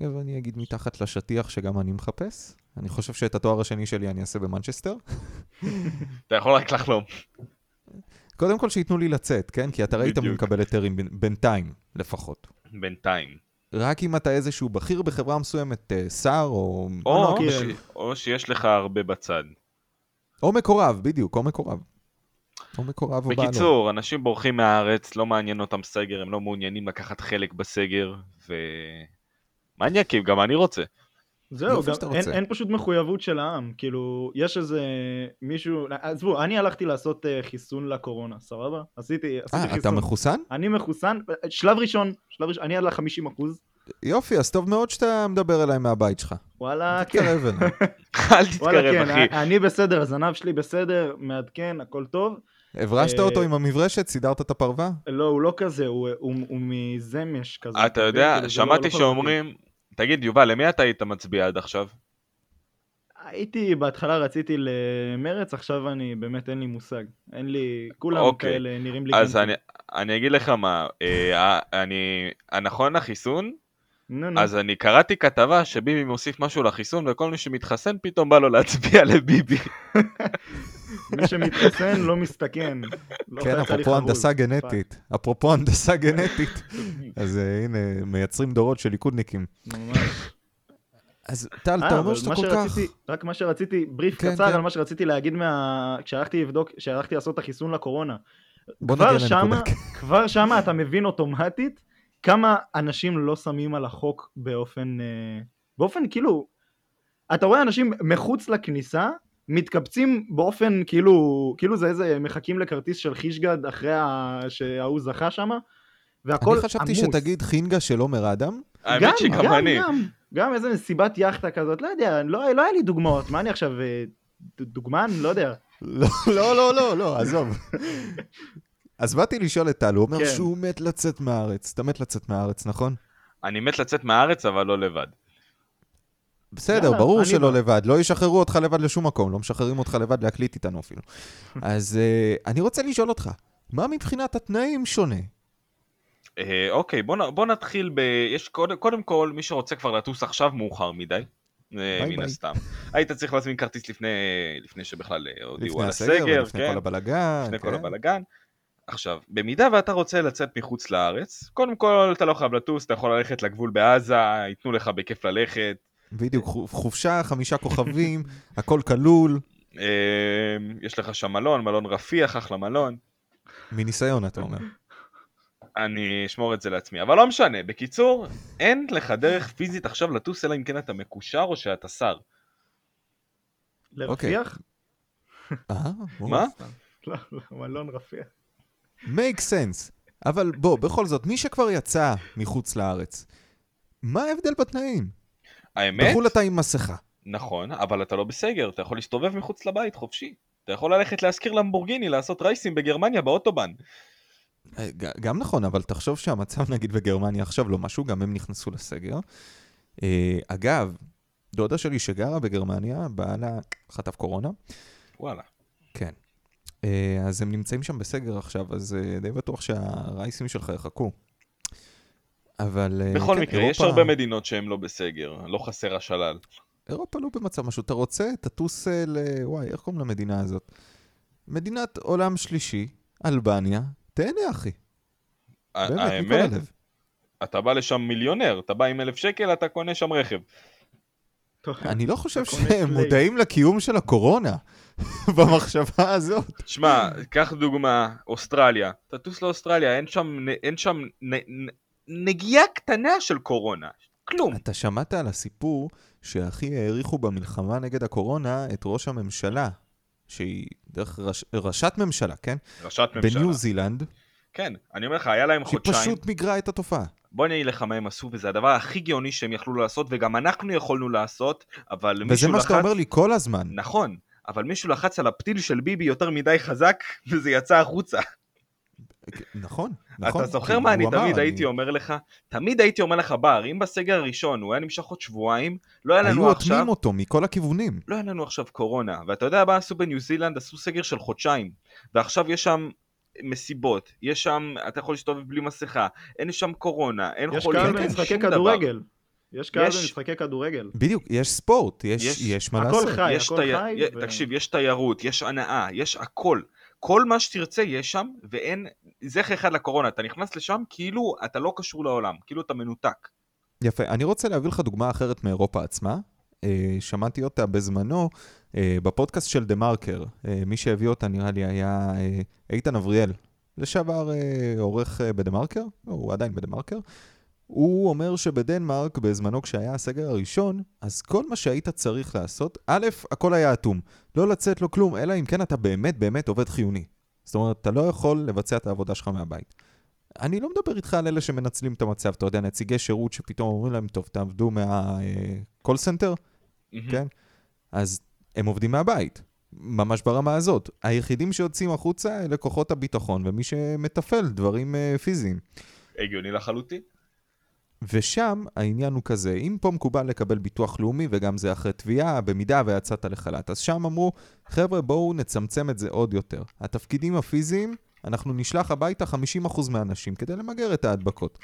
Speaker 1: אגב, אני אגיד מתחת לשטיח שגם אני מחפש. אני חושב שאת התואר השני שלי אני אעשה במנצ'סטר.
Speaker 2: אתה יכול רק לחלום.
Speaker 1: קודם כל שייתנו לי לצאת, כן? כי אתה ראית מי
Speaker 2: בדיוק.
Speaker 1: מקבל היתרים בין- בינתיים, לפחות.
Speaker 2: בינתיים.
Speaker 1: רק אם אתה איזשהו בכיר בחברה מסוימת, אה, שר או...
Speaker 2: או,
Speaker 3: לא, כי-
Speaker 2: ש... או שיש לך הרבה בצד.
Speaker 1: או מקורב, בדיוק, או מקורב. או מקורב או בעלו.
Speaker 2: בקיצור, אנשים בורחים מהארץ, לא מעניין אותם סגר, הם לא מעוניינים לקחת חלק בסגר, ו... מניאקים, גם אני רוצה.
Speaker 3: זהו,
Speaker 1: יופי
Speaker 3: גם
Speaker 1: שאתה
Speaker 3: אין,
Speaker 1: רוצה.
Speaker 3: אין פשוט מחויבות של העם, כאילו, יש איזה מישהו, עזבו, אני הלכתי לעשות אה, חיסון לקורונה, סבבה? עשיתי, עשיתי
Speaker 1: אה, אתה
Speaker 3: חיסון.
Speaker 1: מחוסן?
Speaker 3: אני מחוסן, שלב ראשון, שלב ראשון, אני על ה-50 אחוז,
Speaker 1: יופי, אז טוב מאוד שאתה מדבר אליי מהבית שלך.
Speaker 3: וואלה, כן,
Speaker 1: תתקרב אליי.
Speaker 2: אל
Speaker 3: וואלה,
Speaker 2: תתקרב, אחי.
Speaker 3: כן, אני בסדר, הזנב שלי בסדר, מעדכן, הכל טוב.
Speaker 1: הברשת
Speaker 3: אה,
Speaker 1: אותו עם המברשת, סידרת את הפרווה?
Speaker 3: לא, הוא לא כזה, הוא, הוא, הוא מזמש כזה.
Speaker 2: אתה
Speaker 3: מבין?
Speaker 2: יודע,
Speaker 3: כאילו, זה לא- לא
Speaker 2: שמעתי
Speaker 3: חזק.
Speaker 2: שאומרים... תגיד, יובל, למי אתה היית מצביע עד עכשיו?
Speaker 3: הייתי, בהתחלה רציתי למרץ, עכשיו אני, באמת אין לי מושג. אין לי, כולם
Speaker 2: אוקיי.
Speaker 3: כאלה נראים לי
Speaker 2: אז
Speaker 3: גנצים.
Speaker 2: אני- אני אגיד לך מה, אה, ה- אני... הנכון אה, נכון החיסון?
Speaker 3: נו, נו.
Speaker 2: אז אני קראתי כתבה שביבי מוסיף משהו לחיסון וכל מי שמתחסן פתאום בא לו להצביע לביבי.
Speaker 3: מי שמתחסן לא מסתכן. לא
Speaker 1: כן,
Speaker 3: חייב תהליך
Speaker 1: אפרופו
Speaker 3: חרוז.
Speaker 1: הנדסה גנטית. אפרופו הנדסה גנטית. אז אה, הנה, מייצרים דורות של ליכודניקים.
Speaker 3: ממש.
Speaker 1: אז טל,
Speaker 3: אה,
Speaker 1: אתה
Speaker 3: אבל
Speaker 1: אומר שאתה
Speaker 3: מה
Speaker 1: כל כך...
Speaker 3: שרציתי- רק מה שרציתי, בריף
Speaker 1: כן,
Speaker 3: קצר
Speaker 1: כן.
Speaker 3: על מה שרציתי להגיד מה... כשהלכתי לבדוק, כשהלכתי לעשות את החיסון לקורונה.
Speaker 1: בוא
Speaker 3: כבר
Speaker 1: נגיע
Speaker 3: שמה-
Speaker 1: לנקודה.
Speaker 3: כבר שמה אתה מבין אוטומטית כמה אנשים לא שמים על החוק באופן... אה, באופן כאילו... אתה רואה אנשים מחוץ לכניסה, מתקבצים באופן כאילו... כאילו זה איזה... מחכים לכרטיס של חישגד אחרי ה... שההוא זכה שם, והכל
Speaker 1: אני
Speaker 3: עמוס.
Speaker 1: חשבתי שתגיד חינגה של עומר אדם.
Speaker 2: האמת שגם
Speaker 3: גם,
Speaker 2: אני.
Speaker 3: גם, גם איזה מסיבת יאכטה כזאת, לא יודע, לא, לא היה לי דוגמאות, מה אני עכשיו, אה, ד- דוגמן? לא יודע.
Speaker 1: לא, לא, לא, לא, לא, עזוב. אז באתי לשאול את טל, הוא אומר
Speaker 3: כן.
Speaker 1: שהוא מת לצאת מהארץ. אתה מת לצאת מהארץ, נכון?
Speaker 2: אני מת לצאת מהארץ אבל לא לבד.
Speaker 1: בסדר,
Speaker 3: יאללה,
Speaker 1: ברור
Speaker 3: אני
Speaker 1: שלא
Speaker 3: בא.
Speaker 1: לבד, לא ישחררו אותך לבד לשום מקום, לא משחררים אותך לבד להקליט איתנו אפילו. אז אה, אני רוצה לשאול אותך, מה מבחינת התנאים שונה?
Speaker 2: אה, אוקיי, בוא, נ- בוא נתחיל ב... יש קודם, קודם כל, מי שרוצה כבר לטוס עכשיו מאוחר מדי. אה,
Speaker 1: ביי
Speaker 2: מן
Speaker 1: ביי.
Speaker 2: הסתם. היית צריך להזמין כרטיס לפני, לפני שבכלל אה, הודיעו
Speaker 1: לפני
Speaker 2: על
Speaker 1: הסגר,
Speaker 2: הסגר,
Speaker 1: לפני
Speaker 2: כן,
Speaker 1: כל הבלגן.
Speaker 2: לפני כל
Speaker 1: כן.
Speaker 2: הבלגן. עכשיו, במידה ואתה רוצה לצאת מחוץ לארץ, קודם כל אתה לא חייב לטוס, אתה יכול ללכת לגבול בעזה, ייתנו לך בכיף ללכת.
Speaker 1: בדיוק, חו- חופשה, חמישה כוכבים, הכל כלול,
Speaker 2: אה, יש לך שם מלון, מלון רפיח, אחלה מלון.
Speaker 1: מניסיון אתה אומר.
Speaker 2: אני אשמור את זה לעצמי, אבל לא משנה. בקיצור, אין לך דרך פיזית עכשיו לטוס, אלא אם כן אתה מקושר או שאתה שר.
Speaker 1: אוקיי.
Speaker 3: לרפיח?
Speaker 1: אה, בוא.
Speaker 2: מה?
Speaker 3: לא, לא, מלון רפיח.
Speaker 1: make sense. אבל בוא, בכל זאת, מי שכבר יצא מחוץ לארץ, מה ההבדל בתנאים?
Speaker 2: האמת,
Speaker 1: בחו"ל אתה עם מסכה.
Speaker 2: נכון, אבל אתה לא בסגר, אתה יכול להסתובב מחוץ לבית חופשי. אתה יכול ללכת להשכיר למבורגיני, לעשות רייסים בגרמניה באוטובן.
Speaker 1: אה, ג- גם נכון, אבל תחשוב שהמצב נגיד בגרמניה עכשיו לא משהו, גם הם נכנסו לסגר. אה, אגב, דודה שלי שגרה בגרמניה, בעלה חטף קורונה,
Speaker 2: וואלה.
Speaker 1: כן. אה, אז הם נמצאים שם בסגר עכשיו, אז אה, די בטוח שהרייסים שלך יחכו. אבל... אה,
Speaker 2: בכל
Speaker 1: כן,
Speaker 2: מקרה, יש
Speaker 1: אירופה-
Speaker 2: הרבה מדינות שהן לא בסגר, לא חסר השלל.
Speaker 1: אירופה לא במצב משהו. אתה רוצה, תטוס אה, ל... וואי, איך קוראים למדינה הזאת? מדינת עולם שלישי, אלבניה, תהנה אחי.
Speaker 2: ה-
Speaker 1: באמת, מכל
Speaker 2: האמת,
Speaker 1: הלב.
Speaker 2: אתה בא לשם מיליונר, אתה בא עם אלף שקל, אתה קונה שם רכב.
Speaker 3: טוב,
Speaker 1: אני לא חושב
Speaker 3: אתה קונה
Speaker 1: שהם
Speaker 3: פליי.
Speaker 1: מודעים לקיום של הקורונה במחשבה הזאת.
Speaker 2: שמע, קח דוגמה, אוסטרליה. תטוס לאוסטרליה, אין שם, אין שם נ, נ, נגיעה קטנה של קורונה. כלום.
Speaker 1: אתה שמעת על הסיפור שהכי העריכו במלחמה נגד הקורונה את ראש הממשלה, שהיא דרך ראש, ראשת ממשלה, כן?
Speaker 2: ראשת ממשלה.
Speaker 1: בניו זילנד,
Speaker 2: כן, אני אומר לך, היה להם
Speaker 1: שהיא
Speaker 2: חודשיים.
Speaker 1: פשוט מיגרה את התופעה.
Speaker 2: בוא אני אגיד לך מה הם עשו, וזה הדבר הכי גאוני שהם יכלו לעשות, וגם אנחנו יכולנו לעשות, אבל
Speaker 1: וזה
Speaker 2: מישהו
Speaker 1: מה
Speaker 2: לחץ...
Speaker 1: שאתה אומר לי כל הזמן.
Speaker 2: נכון, אבל מישהו לחץ על הפתיל של ביבי יותר מדי חזק, וזה יצא החוצה.
Speaker 1: נכון, נכון.
Speaker 2: אתה זוכר
Speaker 1: כי
Speaker 2: מה אני
Speaker 1: הוא אמר,
Speaker 2: תמיד הייתי אומר לך? תמיד הייתי אומר לך, בר, אם בסגר הראשון הוא היה נמשך עוד שבועיים, לא היה
Speaker 1: היו
Speaker 2: לנו עכשיו...
Speaker 1: אוטמים אותו מכל הכיוונים.
Speaker 2: לא היה לנו עכשיו קורונה, ואתה יודע מה עשו בניו זילנד? עשו סגר של חודשיים, ועכשיו יש שם מסיבות, יש שם, אתה יכול להסתובב בלי מסכה, אין שם קורונה,
Speaker 1: לא
Speaker 2: אין
Speaker 3: יש
Speaker 2: חולים,
Speaker 3: קהל
Speaker 2: אין שום
Speaker 3: במשחקי
Speaker 2: דבר.
Speaker 3: כדורגל. יש קהל
Speaker 2: יש-
Speaker 3: במשחקי כדורגל.
Speaker 1: בדיוק, יש ספורט, יש,
Speaker 2: יש-
Speaker 1: יש, מה
Speaker 3: הכל
Speaker 1: לעשות.
Speaker 3: חי.
Speaker 2: יש
Speaker 3: אה, הכל
Speaker 2: תייר,
Speaker 3: חי
Speaker 2: ו...
Speaker 3: ו-
Speaker 2: תקשיב, יש תיירות, יש הנאה, יש הכל. כל מה שתרצה יש שם, ואין זכר אחד לקורונה. אתה נכנס לשם כאילו אתה לא קשור לעולם, כאילו אתה מנותק.
Speaker 1: יפה. אני רוצה להביא לך דוגמה אחרת מאירופה עצמה. אה, שמעתי אותה בזמנו אה, בפודקאסט של דה מרקר. אה, מי שהביא אותה נראה לי היה אה, איתן אבריאל, לשעבר אה, עורך אה, בדה מרקר, לא, הוא עדיין בדה מרקר. הוא אומר שבדנמרק, בזמנו כשהיה הסגר הראשון, אז כל מה שהיית צריך לעשות, א', הכל היה אטום. לא לצאת, לא כלום, אלא אם כן אתה באמת באמת עובד חיוני. זאת אומרת, אתה לא יכול לבצע את העבודה שלך מהבית. אני לא מדבר איתך על אלה שמנצלים את המצב, אתה יודע, נציגי שירות שפתאום אומרים להם, טוב, תעבדו מה-call center, כן? אז הם עובדים מהבית, ממש ברמה הזאת. היחידים שיוצאים החוצה אלה כוחות הביטחון ומי שמתפעל דברים אה, פיזיים.
Speaker 2: הגיוני לחלוטין.
Speaker 1: ושם העניין הוא כזה, אם פה מקובל לקבל ביטוח לאומי, וגם זה אחרי תביעה, במידה ויצאת לחל"ת, אז שם אמרו, חבר'ה, בואו נצמצם את זה עוד יותר. התפקידים הפיזיים, אנחנו נשלח הביתה 50% מהאנשים כדי למגר את ההדבקות.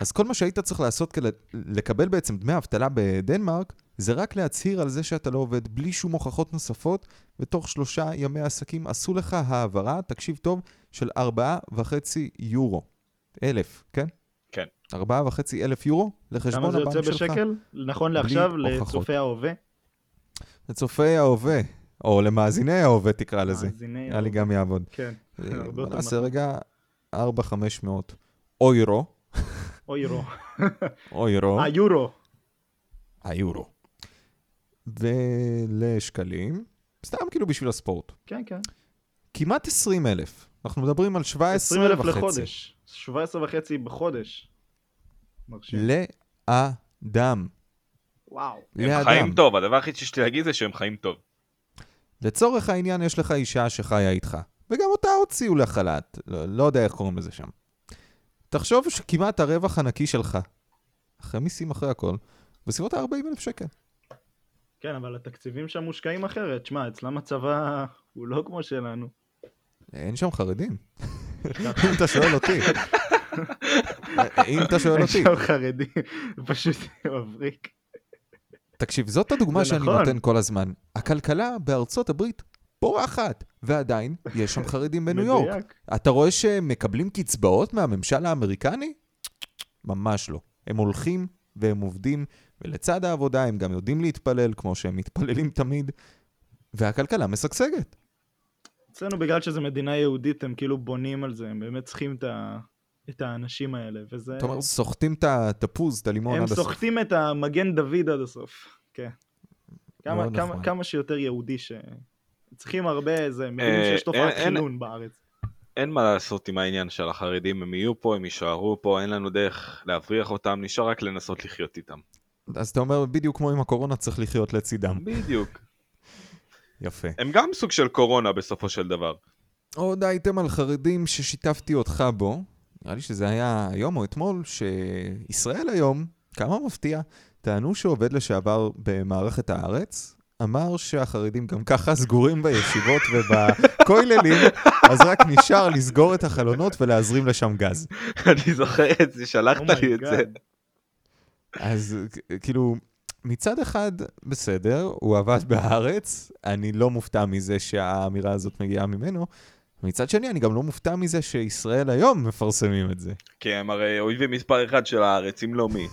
Speaker 1: אז כל מה שהיית צריך לעשות כדי לקבל בעצם דמי אבטלה בדנמרק, זה רק להצהיר על זה שאתה לא עובד בלי שום הוכחות נוספות, ותוך שלושה ימי עסקים עשו לך העברה, תקשיב טוב, של 4.5 יורו. אלף, כן?
Speaker 2: כן.
Speaker 1: 4.5 אלף יורו לחשבון
Speaker 3: כמה
Speaker 1: הבנק
Speaker 3: זה
Speaker 1: שלך.
Speaker 3: יוצא בשקל? נכון לעכשיו,
Speaker 1: בלי הוכחות.
Speaker 3: לצופי ההווה.
Speaker 1: לצופי ההווה, או למאזיני ההווה תקרא לזה.
Speaker 3: מאזיני
Speaker 1: נראה לי
Speaker 3: ההווה.
Speaker 1: גם יעבוד.
Speaker 3: כן,
Speaker 1: אה,
Speaker 3: הרבה
Speaker 1: בוא
Speaker 3: יותר
Speaker 1: נעשה
Speaker 3: נכון.
Speaker 1: רגע 4,500 אוירו,
Speaker 3: או יורו.
Speaker 1: אוירו,
Speaker 3: אה, יורו.
Speaker 1: היורו. ולשקלים, סתם כאילו בשביל הספורט.
Speaker 3: כן, כן.
Speaker 1: כמעט 20 אלף. אנחנו מדברים על 17
Speaker 3: 20 אלף
Speaker 1: וחצי.
Speaker 3: לחודש. 17 וחצי בחודש.
Speaker 1: לא.
Speaker 3: מרשים.
Speaker 1: לאדם.
Speaker 3: וואו.
Speaker 2: הם
Speaker 1: לאדם.
Speaker 2: חיים טוב, הדבר היחיד שיש לי להגיד זה שהם חיים טוב.
Speaker 1: לצורך העניין יש לך אישה שחיה איתך, וגם אותה הוציאו לחל"ת, לא, לא יודע איך קוראים לזה שם. תחשוב שכמעט הרווח הנקי שלך, אחרי מיסים אחרי הכל, בסביבות ה-40 אלף שקל.
Speaker 3: כן, אבל התקציבים שם מושקעים אחרת. שמע, אצלם הצבא הוא לא כמו שלנו.
Speaker 1: אין שם חרדים. אם אתה שואל אותי. אם אתה שואל
Speaker 3: אין
Speaker 1: אותי.
Speaker 3: שם חרדים. פשוט מבריק.
Speaker 1: תקשיב, זאת הדוגמה
Speaker 3: זה
Speaker 1: שאני
Speaker 3: נכון.
Speaker 1: נותן כל הזמן. הכלכלה בארצות הברית פורחת, ועדיין יש שם חרדים בניו יורק.
Speaker 3: מדויק.
Speaker 1: אתה רואה שהם מקבלים קצבאות מהממשל האמריקני? ממש לא. הם הולכים והם עובדים, ולצד העבודה הם גם יודעים להתפלל, כמו שהם מתפללים תמיד, והכלכלה משגשגת.
Speaker 3: אצלנו בגלל שזו מדינה יהודית, הם כאילו בונים על זה, הם באמת צריכים את, ה... את האנשים האלה, וזה...
Speaker 1: אתה אומר, סוחטים את התפוז, את הלימון עד
Speaker 3: הם
Speaker 1: הסוף.
Speaker 3: סוחטים את המגן דוד עד הסוף, כן. כמה,
Speaker 1: מאוד
Speaker 3: כמה,
Speaker 1: נכון.
Speaker 3: כמה שיותר יהודי ש... צריכים הרבה, זה מבינים
Speaker 2: אה,
Speaker 3: שיש תופעת
Speaker 2: אין- אין-
Speaker 3: חילון בארץ.
Speaker 2: אין מה לעשות עם העניין של החרדים, הם יהיו פה, הם יישארו פה, אין לנו דרך להבריח אותם, נשאר רק לנסות לחיות איתם.
Speaker 1: אז אתה אומר, בדיוק כמו עם הקורונה, צריך לחיות לצידם.
Speaker 2: בדיוק.
Speaker 1: יפה.
Speaker 2: הם גם סוג של קורונה בסופו של דבר.
Speaker 1: עוד אייטם על חרדים ששיתפתי אותך בו, נראה לי שזה היה היום או אתמול, שישראל היום, כמה מפתיע, טענו שעובד לשעבר במערכת הארץ, אמר שהחרדים גם ככה סגורים בישיבות ובכוללים, אז רק נשאר לסגור את החלונות ולהזרים לשם גז.
Speaker 2: אני זוכר את זה,
Speaker 3: Oh
Speaker 2: שלחת לי את זה.
Speaker 3: אומייגאד.
Speaker 1: אז כ- כאילו, מצד אחד, בסדר, הוא עבד בהארץ, אני לא מופתע מזה שהאמירה הזאת מגיעה ממנו. מצד שני, אני גם לא מופתע מזה שישראל היום מפרסמים את זה.
Speaker 2: כי הם הרי אויבים מספר אחד של הארץ, אם לא מי.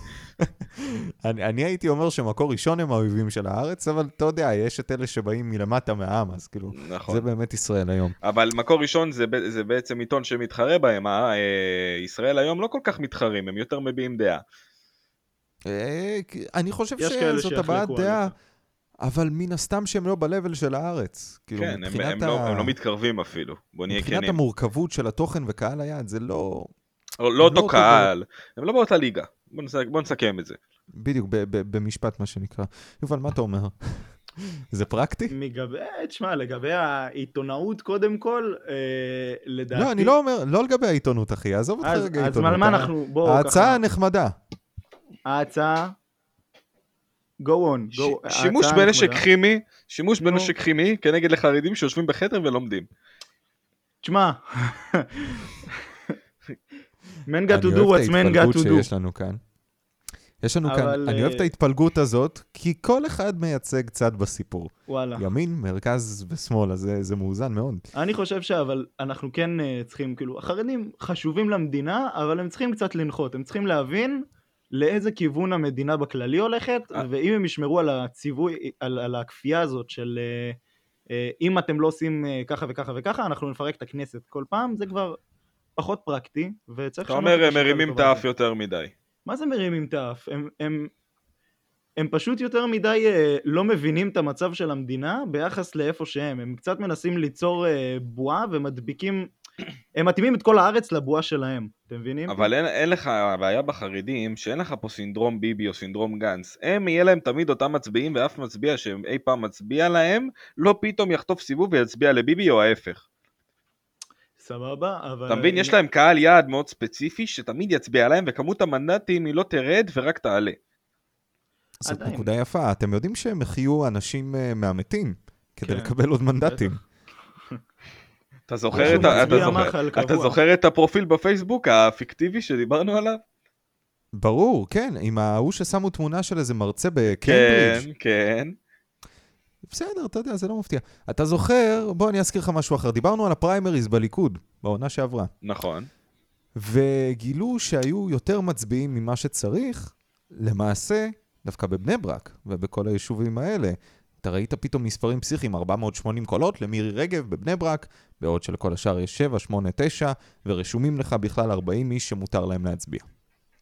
Speaker 1: אני, אני הייתי אומר שמקור ראשון הם האויבים של הארץ, אבל אתה יודע, יש את אלה שבאים מלמטה מהעם, אז כאילו, זה
Speaker 2: נכון.
Speaker 1: באמת ישראל היום.
Speaker 2: אבל מקור ראשון זה ב- זה בעצם עיתון שמתחרה בהם, אה? אה, ישראל היום לא כל כך מתחרים, הם יותר מביעים דעה.
Speaker 1: אה, כי- אני חושב
Speaker 3: יש כאלה
Speaker 1: שזאת הבעת
Speaker 3: שיחלקו
Speaker 1: דעה,
Speaker 3: עליך.
Speaker 1: אבל מן הסתם שהם לא ב-level של הארץ. כאילו,
Speaker 2: כן, הם-
Speaker 1: מבחינת
Speaker 2: הם לא-
Speaker 1: ה-
Speaker 2: הם לא מתקרבים אפילו, בוא נהיה
Speaker 1: מבחינת
Speaker 2: כנים.
Speaker 1: המורכבות של התוכן וקהל היעד, זה לא...
Speaker 2: לא
Speaker 1: לא
Speaker 2: לא אותו
Speaker 1: אותו
Speaker 2: קהל, הם לא באותה ליגה. בוא נס- בוא נסכם את זה.
Speaker 1: בדיוק, ב- ב- במשפט מה שנקרא. יובל, מה אתה אומר? זה פרקטי?
Speaker 3: מגבי, אה, תשמע, לגבי העיתונאות קודם כל, אה, לדעתי...
Speaker 1: לא, אני לא אומר, לא לגבי העיתונות, אחי, עזוב אותך
Speaker 3: אז-
Speaker 1: רגע
Speaker 3: אז מה
Speaker 1: עיתונות. אה?
Speaker 3: על מה אנחנו, בואו ככה...
Speaker 1: ההצעה הנחמדה.
Speaker 3: ההצעה... go on.
Speaker 2: ש-
Speaker 3: go-
Speaker 2: שימוש
Speaker 3: ההצעה
Speaker 2: בנשק
Speaker 3: נחמדה.
Speaker 2: כימי, שימוש
Speaker 3: נו.
Speaker 2: בנשק כימי כנגד לחרדים שיושבים בחדר ולומדים.
Speaker 3: תשמע, man got to
Speaker 1: אני
Speaker 3: do
Speaker 1: אוהב את
Speaker 3: what's man got
Speaker 1: ההתפלגות
Speaker 3: to do.
Speaker 1: שיש לנו כאן. יש לנו כאן,
Speaker 3: אבל,
Speaker 1: אני אוהב את
Speaker 3: אה,
Speaker 1: ההתפלגות הזאת, כי כל אחד מייצג צד בסיפור.
Speaker 3: וואלה.
Speaker 1: ימין, מרכז ושמאל, אז זה- זה מאוזן מאוד.
Speaker 3: אני חושב שאבל אנחנו כן אה, צריכים, כאילו, החרדים חשובים למדינה, אבל הם צריכים קצת לנחות, הם צריכים להבין לאיזה כיוון המדינה בכללי הולכת,
Speaker 2: אה.
Speaker 3: ואם הם ישמרו על הציווי, על, על הכפייה הזאת של אה, אה, אם אתם לא עושים אה, ככה וככה וככה, אנחנו נפרק את הכנסת כל פעם, זה כבר פחות פרקטי, וצריך...
Speaker 2: אתה
Speaker 3: לשנות
Speaker 2: אומר
Speaker 3: את
Speaker 2: הם
Speaker 3: השיטה
Speaker 2: מרימים את
Speaker 3: לטובת
Speaker 2: האף
Speaker 3: זה.
Speaker 2: יותר מדי.
Speaker 3: מה זה מרימים את האף? הם, הם, הם פשוט יותר מדי אה, לא מבינים את המצב של המדינה ביחס לאיפה שהם. הם קצת מנסים ליצור אה, בועה ומדביקים, הם מתאימים את כל הארץ לבועה שלהם. אתם מבינים?
Speaker 2: אבל אין, אין לך, הבעיה בחרדים, שאין לך פה סינדרום ביבי או סינדרום גנץ. הם, יהיה להם תמיד אותם מצביעים, ואף מצביע שאי פעם מצביע להם, לא פתאום יחטוף סיבוב ויצביע לביבי או ההפך.
Speaker 3: סבבה, אבל... אה,
Speaker 2: אתה מבין? יש להם קהל יעד מאוד ספציפי, שתמיד יצביע להם, וכמות המנדטים היא לא תרד ורק תעלה.
Speaker 1: זאת
Speaker 3: עדיין.
Speaker 1: נקודה יפה. אתם יודעים שהם החיו אנשים אה, מהמתים כדי
Speaker 3: כן.
Speaker 1: לקבל עוד מנדטים.
Speaker 3: אה,
Speaker 2: אתה
Speaker 1: הוא
Speaker 2: זוכר את, ה- אתה
Speaker 1: מצביע
Speaker 2: זוכר,
Speaker 3: מחל
Speaker 2: אתה
Speaker 3: קבוע.
Speaker 2: זוכר את הפרופיל בפייסבוק הפיקטיבי שדיברנו עליו?
Speaker 1: ברור, כן, עם ההוא ששמו תמונה של איזה מרצה
Speaker 2: כן,
Speaker 1: בקיימברידג'.
Speaker 2: כן.
Speaker 1: בסדר, אתה יודע, זה לא מפתיע. אתה זוכר, בוא אני אזכיר לך משהו אחר. דיברנו על הפריימריז בליכוד, בעונה שעברה,
Speaker 2: נכון.
Speaker 1: וגילו שהיו יותר מצביעים ממה שצריך, למעשה, דווקא בבני ברק ובכל היישובים האלה. אתה ראית פתאום מספרים פסיכיים, 480 קולות למירי רגב בבני ברק, בעוד שלכל השאר יש 7, 8, 9, ורשומים לך בכלל 40 איש שמותר להם להצביע.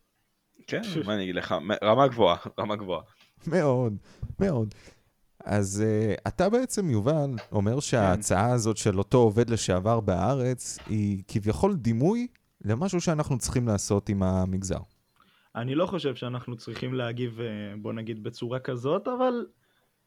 Speaker 2: כן, מה אני אגיד לך? רמה גבוהה, רמה גבוהה.
Speaker 1: מאוד, מאוד. אז uh, אתה בעצם, יובל,
Speaker 3: כן.
Speaker 1: אומר שההצעה הזאת של אותו עובד לשעבר בהארץ היא כביכול דימוי למשהו שאנחנו צריכים לעשות עם המגזר.
Speaker 3: אני לא חושב שאנחנו צריכים להגיב, אה, בוא נגיד, בצורה כזאת, אבל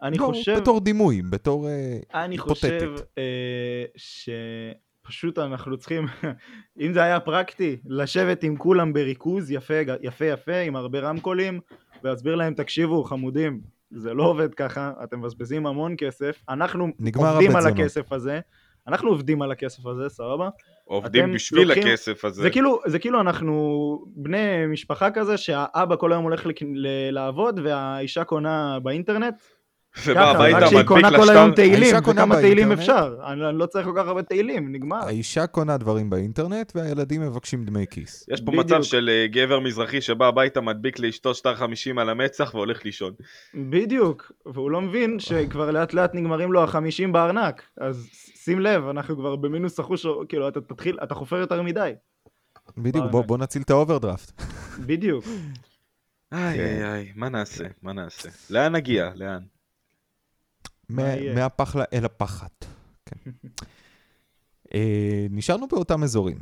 Speaker 3: אני
Speaker 1: לא,
Speaker 3: חושב...
Speaker 1: בתור דימוי, בתור... אה,
Speaker 3: אני
Speaker 1: היפותטית.
Speaker 3: חושב אה, שפשוט אנחנו צריכים, אם זה היה פרקטי, לשבת עם כולם בריכוז יפה יפה, יפה עם הרבה רמקולים, ולהסביר להם, תקשיבו חמודים, זה לא עובד ככה, אתם מבזבזים המון כסף, אנחנו
Speaker 1: נגמר
Speaker 3: עובדים
Speaker 1: הבית
Speaker 3: על
Speaker 1: זונות.
Speaker 3: הכסף הזה, אנחנו עובדים על הכסף הזה, סבבה?
Speaker 2: עובדים
Speaker 3: אתם
Speaker 2: בשביל
Speaker 3: לוקחים-
Speaker 2: הכסף הזה.
Speaker 3: זה כאילו, זה כאילו אנחנו בני משפחה כזה שהאבא כל היום הולך לק- ל- לעבוד והאישה קונה באינטרנט
Speaker 2: ובא
Speaker 3: ככה,
Speaker 2: הביתה,
Speaker 3: רק שהיא
Speaker 2: מדביק
Speaker 3: קונה כל היום
Speaker 2: לשטר.
Speaker 3: תהילים,
Speaker 1: האישה קונה
Speaker 3: וכמה תהילים
Speaker 1: באינטרנט.
Speaker 3: אפשר. אני אני לא צריך כל כך הרבה תהילים, נגמר.
Speaker 1: האישה קונה דברים באינטרנט והילדים מבקשים דמי כיס.
Speaker 2: יש פה
Speaker 3: בדיוק.
Speaker 2: מצב של אה, גבר מזרחי שבא הביתה, מדביק לאשתו שטר 50 על המצח והולך לישון.
Speaker 3: בדיוק, והוא לא מבין שכבר לאט לאט נגמרים לו החמישים בארנק. אז שים לב, אנחנו כבר במינוס אחוז, או- כאילו, אתה תתחיל, אתה חופר יותר מדי.
Speaker 1: בדיוק,
Speaker 3: באמת.
Speaker 1: בוא, בוא נציל את האוברדרפט.
Speaker 3: בדיוק.
Speaker 2: איי
Speaker 1: כן.
Speaker 2: איי איי, מה נעשה? מה נעשה? לאן נגיע? לאן?
Speaker 1: מה-
Speaker 3: יהיה?
Speaker 1: מהפח ל- אל הפחת. כן. אה, נשארנו באותם אזורים.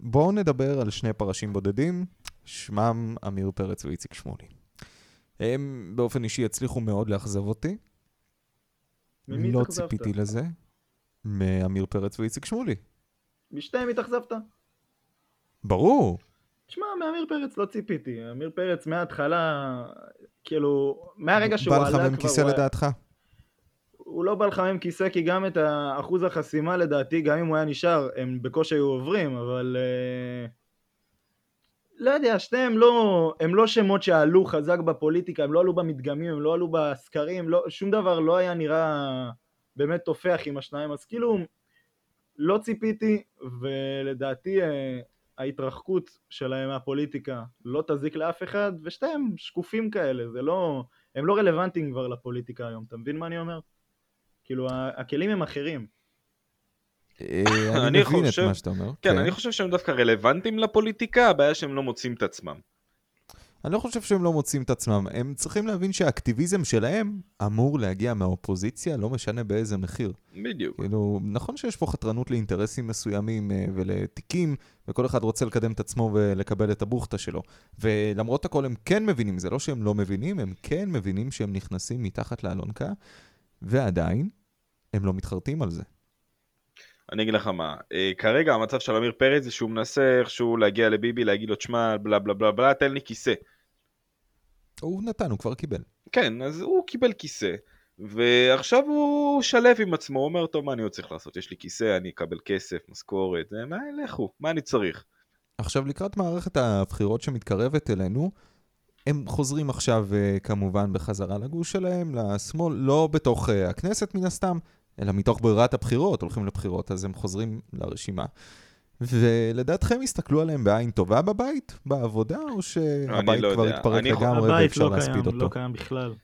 Speaker 1: בואו נדבר על שני פרשים בודדים, שמם עמיר פרץ ואיציק שמולי. הם באופן אישי הצליחו מאוד לאכזב אותי.
Speaker 3: ממי
Speaker 1: לא
Speaker 3: התאכזבת?
Speaker 1: ציפיתי לזה. מעמיר פרץ ואיציק שמולי.
Speaker 3: משתיהם התאכזבת.
Speaker 1: ברור.
Speaker 3: תשמע, מעמיר פרץ לא ציפיתי. עמיר פרץ מההתחלה, כאילו, מהרגע שהוא
Speaker 1: בא
Speaker 3: עלה כבר...
Speaker 1: לך עם כיסא
Speaker 3: הוא היה-
Speaker 1: לדעתך?
Speaker 3: הוא לא בא לחמם כיסא כי גם את האחוז החסימה לדעתי, גם אם הוא היה נשאר, הם בקושי היו עוברים, אבל... אה, לא יודע, שניהם לא, הם לא שמות שעלו חזק בפוליטיקה, הם לא עלו במדגמים, הם לא עלו בסקרים, לא, שום דבר לא היה נראה באמת תופח עם השניים, אז כאילו לא ציפיתי, ולדעתי אה, ההתרחקות שלהם מהפוליטיקה לא תזיק לאף אחד, ושתיהם שקופים כאלה, זה לא, הם לא רלוונטיים כבר לפוליטיקה היום, אתה מבין מה אני אומר? כאילו, ה- הכלים הם אחרים.
Speaker 1: אה, אני
Speaker 2: אני
Speaker 1: מבין את
Speaker 2: חושב-
Speaker 1: מה שאתה אומר.
Speaker 2: כן, אני חושב שהם דווקא רלוונטיים לפוליטיקה, הבעיה שהם לא מוצאים את עצמם.
Speaker 1: אני לא חושב שהם לא מוצאים את עצמם. הם צריכים להבין שהאקטיביזם שלהם אמור להגיע מהאופוזיציה, לא משנה באיזה מחיר.
Speaker 2: בדיוק.
Speaker 3: כן.
Speaker 1: כאילו, נכון שיש פה חתרנות לאינטרסים מסוימים אה, ולתיקים, וכל אחד רוצה לקדם את עצמו ולקבל את הבוכטה שלו. ולמרות הכל הם כן מבינים, זה לא שהם לא מבינים, הם כן מבינים שהם נכנסים מתחת לאלונקה, ועדיין, הם לא מתחרטים על זה.
Speaker 2: אני אגיד לך מה, אה, כרגע המצב של עמיר פרץ זה שהוא מנסה איכשהו להגיע לביבי, להגיד לו, תשמע, בלה בלה בלה בלה, תן לי כיסא.
Speaker 1: הוא נתן, הוא כבר קיבל.
Speaker 2: כן, אז הוא קיבל כיסא, ועכשיו הוא שלב עם עצמו, הוא אומר, טוב, מה אני עוד צריך לעשות? יש לי כיסא, אני אקבל כסף, משכורת, אה, מה, לכו, מה אני צריך?
Speaker 1: עכשיו, לקראת מערכת הבחירות שמתקרבת אלינו, הם חוזרים עכשיו אה, כמובן בחזרה לגוש שלהם, לשמאל, לא בתוך אה, הכנסת מן הסתם, אלא מתוך ברירת הבחירות, הולכים לבחירות, אז הם חוזרים לרשימה. ולדעתכם יסתכלו עליהם בעין טובה בבית, בעבודה, או שהבית
Speaker 2: לא
Speaker 1: כבר
Speaker 2: יודע.
Speaker 1: התפרק
Speaker 2: אני חו-
Speaker 1: לגמרי אה, ואפשר להספיד אותו?
Speaker 3: לא קיים בכלל.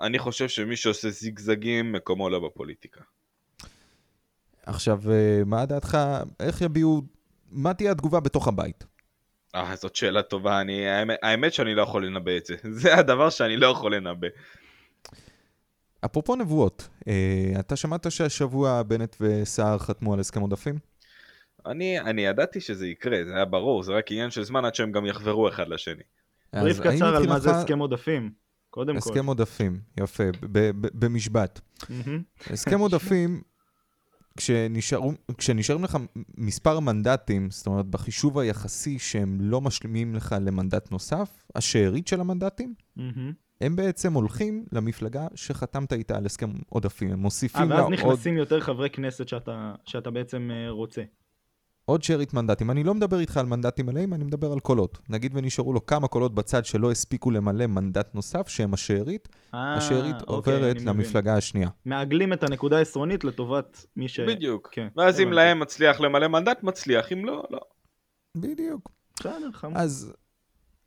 Speaker 2: אני חושב שמי שעושה זיגזגים, מקומו לא בפוליטיקה.
Speaker 1: עכשיו, אה, מה דעתך, איך יביעו, מה תהיה התגובה בתוך הבית?
Speaker 2: אה, זאת שאלה טובה, אני, האמת, האמת שאני לא יכול לנבא את זה. זה הדבר שאני לא יכול לנבא.
Speaker 1: אפרופו נבואות, אה, אתה שמעת שהשבוע בנט וסער חתמו על הסכם עודפים?
Speaker 2: אני, אני ידעתי שזה יקרה, זה היה ברור, זה רק עניין של זמן עד שהם גם יחברו אחד לשני.
Speaker 1: אז
Speaker 3: בריף
Speaker 1: האם
Speaker 3: קצר על מה זה
Speaker 1: מבחינתך-
Speaker 3: הסכם עודפים, קודם כל.
Speaker 1: הסכם עודפים, יפה, ב- ב- במשבט.
Speaker 3: מהמם.
Speaker 1: הסכם עודפים, כשנשארו- כשנשארים לך מספר מנדטים, זאת אומרת, בחישוב היחסי שהם לא משלימים לך למנדט נוסף, השארית של המנדטים,
Speaker 3: מהמם. אה,
Speaker 1: הם בעצם הולכים למפלגה שחתמת איתה על הסכם עודפים, הם
Speaker 3: אה,
Speaker 1: מוסיפים לה
Speaker 3: ואז
Speaker 1: עוד...
Speaker 3: נכנסים יותר חברי כנסת שאתה שאתה בעצם אה, רוצה.
Speaker 1: עוד שארית מנדטים. אני לא מדבר איתך על מנדטים מלאים, אני מדבר על קולות. נגיד ונשארו לו כמה קולות בצד שלא הספיקו למלא מנדט נוסף, שהם השארית.
Speaker 3: אה,
Speaker 1: השארית
Speaker 3: אוקיי,
Speaker 1: עוברת
Speaker 3: אני מבין.
Speaker 1: למפלגה השנייה.
Speaker 3: מעגלים את הנקודה העשרונית לטובת מי ש...
Speaker 2: בדיוק.
Speaker 3: כן.
Speaker 2: ואז אם
Speaker 3: הבנתי.
Speaker 2: להם מצליח למלא מנדט, מצליח, אם לא, לא.
Speaker 1: בדיוק.
Speaker 3: בסדר, חמור.
Speaker 1: אז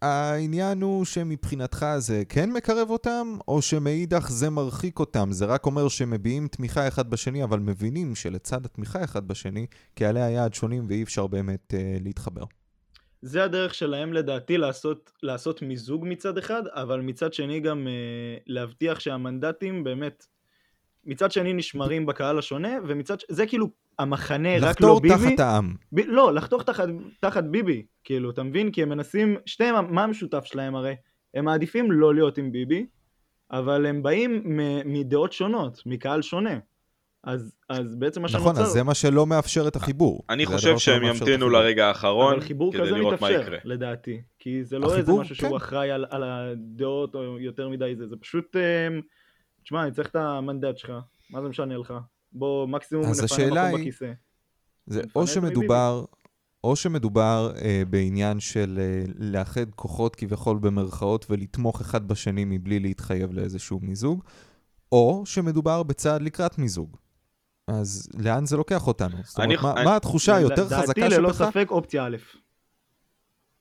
Speaker 1: העניין הוא שמבחינתך זה כן מקרב אותם, או שמאידך זה מרחיק אותם. זה רק אומר שמביעים תמיכה אחד בשני, אבל מבינים שלצד התמיכה אחד בשני, קהלי היעד שונים ואי אפשר באמת אה, להתחבר.
Speaker 3: זה הדרך שלהם לדעתי לעשות, לעשות מיזוג מצד אחד, אבל מצד שני גם אה, להבטיח שהמנדטים באמת, מצד שני נשמרים בקהל השונה, ומצד, ש- זה כאילו המחנה רק לא
Speaker 1: לחתור
Speaker 3: ביבי.
Speaker 1: תחת העם.
Speaker 3: ב... לא, לחתוך תחת, תחת ביבי, כאילו, אתה מבין? כי הם מנסים, שתיהם, מה המשותף שלהם הרי? הם מעדיפים לא להיות עם ביבי, אבל הם באים מ... מדעות שונות, מקהל שונה. אז, אז בעצם מה
Speaker 1: נכון,
Speaker 3: שנוצר...
Speaker 1: אז זה מה שלא מאפשר את החיבור.
Speaker 2: אני
Speaker 1: זה הדבר
Speaker 2: חושב שהם
Speaker 1: שלא מאפשר את
Speaker 2: ימתינו
Speaker 1: החיבור.
Speaker 2: לרגע האחרון
Speaker 3: אבל חיבור
Speaker 2: כדי
Speaker 3: כזה
Speaker 2: לראות מה
Speaker 3: מתאפשר,
Speaker 2: יקרה.
Speaker 3: לדעתי. כי זה לא איזה
Speaker 1: החיבור,
Speaker 3: משהו שהוא
Speaker 1: כן.
Speaker 3: אחראי על, על הדעות או יותר מדי זה, זה פשוט... אמ, תשמע, אני צריך את המנדט שלך, מה זה משנה לך? בוא, מקסימום
Speaker 1: אז
Speaker 3: נפנה
Speaker 1: השאלה
Speaker 3: מקום
Speaker 1: היא-
Speaker 3: בכיסא.
Speaker 1: זה
Speaker 3: מפנה
Speaker 1: או
Speaker 3: את מביבי.
Speaker 1: שמדובר, או שמדובר אה, בעניין של אה, לאחד כוחות כביכול במרכאות ולתמוך אחד בשני מבלי להתחייב לאיזשהו מיזוג, או שמדובר בצעד לקראת מיזוג. אז לאן זה לוקח אותנו? זאת
Speaker 2: אני-
Speaker 1: אומרת, מה,
Speaker 2: אני-
Speaker 1: מה התחושה היותר
Speaker 3: לדעתי,
Speaker 1: חזקה
Speaker 3: ללא
Speaker 1: שבך,
Speaker 3: ספק אופציה א',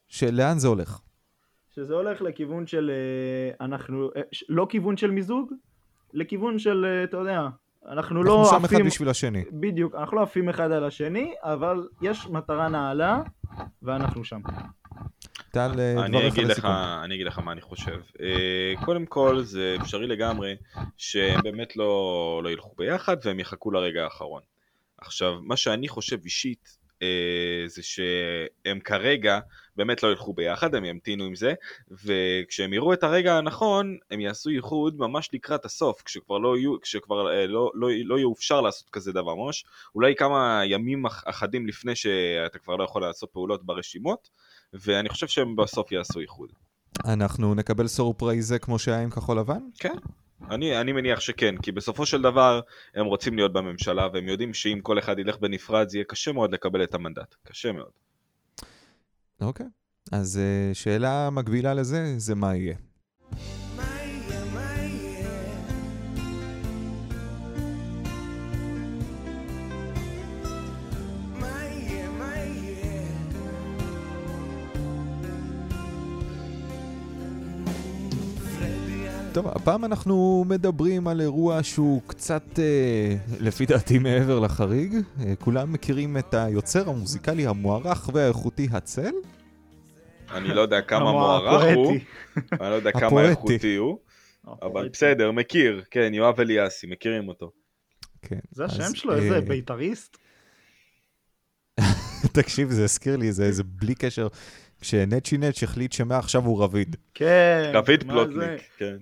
Speaker 1: שלאן זה הולך?
Speaker 3: שזה הולך לכיוון של אה, אנחנו, אה, ש- לא כיוון של מיזוג, לכיוון של, אה, אתה יודע, אנחנו
Speaker 1: אנחנו
Speaker 3: לא
Speaker 1: שם אחד
Speaker 3: עפים
Speaker 1: בשביל השני.
Speaker 3: בדיוק, אנחנו לא עפים אחד על השני, אבל יש מטרה נעלה, ואנחנו שם.
Speaker 1: טל, אה,
Speaker 2: אני
Speaker 1: דבריך
Speaker 2: אגיד, לך,
Speaker 1: לסיכום.
Speaker 2: אני אגיד לך מה אני חושב. אה, קודם כל, זה אפשרי לגמרי שהם באמת לא, לא ילכו ביחד והם יחכו לרגע האחרון. עכשיו, מה שאני חושב אישית, אה, זה שהם כרגע באמת לא ילכו ביחד, הם ימתינו עם זה, וכשהם יראו את הרגע הנכון, הם יעשו איחוד ממש לקראת הסוף, כשכבר לא, יהיו- כשכבר, אה, לא, לא, לא יאופשר לעשות כזה דבר ממש, אולי כמה ימים אח- אחדים לפני שאתה כבר לא יכול לעשות פעולות ברשימות, ואני חושב שהם בסוף יעשו איחוד.
Speaker 1: אנחנו נקבל סורפרייזה כמו שהיה עם כחול לבן?
Speaker 2: אני, אני מניח שכן, כי בסופו של דבר הם רוצים להיות בממשלה, והם יודעים שאם כל אחד ילך בנפרד זה יהיה קשה מאוד לקבל את המנדט. קשה מאוד.
Speaker 1: אוקיי. אז אה, שאלה מקבילה לזה, זה מה יהיה. טוב, הפעם אנחנו מדברים על אירוע שהוא קצת, אה, לפי דעתי, מעבר לחריג. אה, כולם מכירים את היוצר המוזיקלי המוערך והאיכותי הצל?
Speaker 2: אני לא יודע כמה
Speaker 3: המוע-
Speaker 2: מוערך הוא,
Speaker 3: הפואטי.
Speaker 2: אני לא יודע כמה
Speaker 1: הפואטי.
Speaker 2: איכותי הוא, אבל
Speaker 3: הפואטי.
Speaker 2: בסדר, מכיר, כן, יואב אליאסי, מכירים אותו.
Speaker 1: כן.
Speaker 3: זה
Speaker 1: אז,
Speaker 3: השם שלו, איזה
Speaker 1: אה,
Speaker 3: בית"ריסט?
Speaker 1: תקשיב, זה הזכיר לי, זה, זה בלי קשר. כשנצ'י נץ' החליט שמעכשיו הוא רביד.
Speaker 3: כן.
Speaker 2: רביד
Speaker 3: מה
Speaker 2: פלוטניק, כן.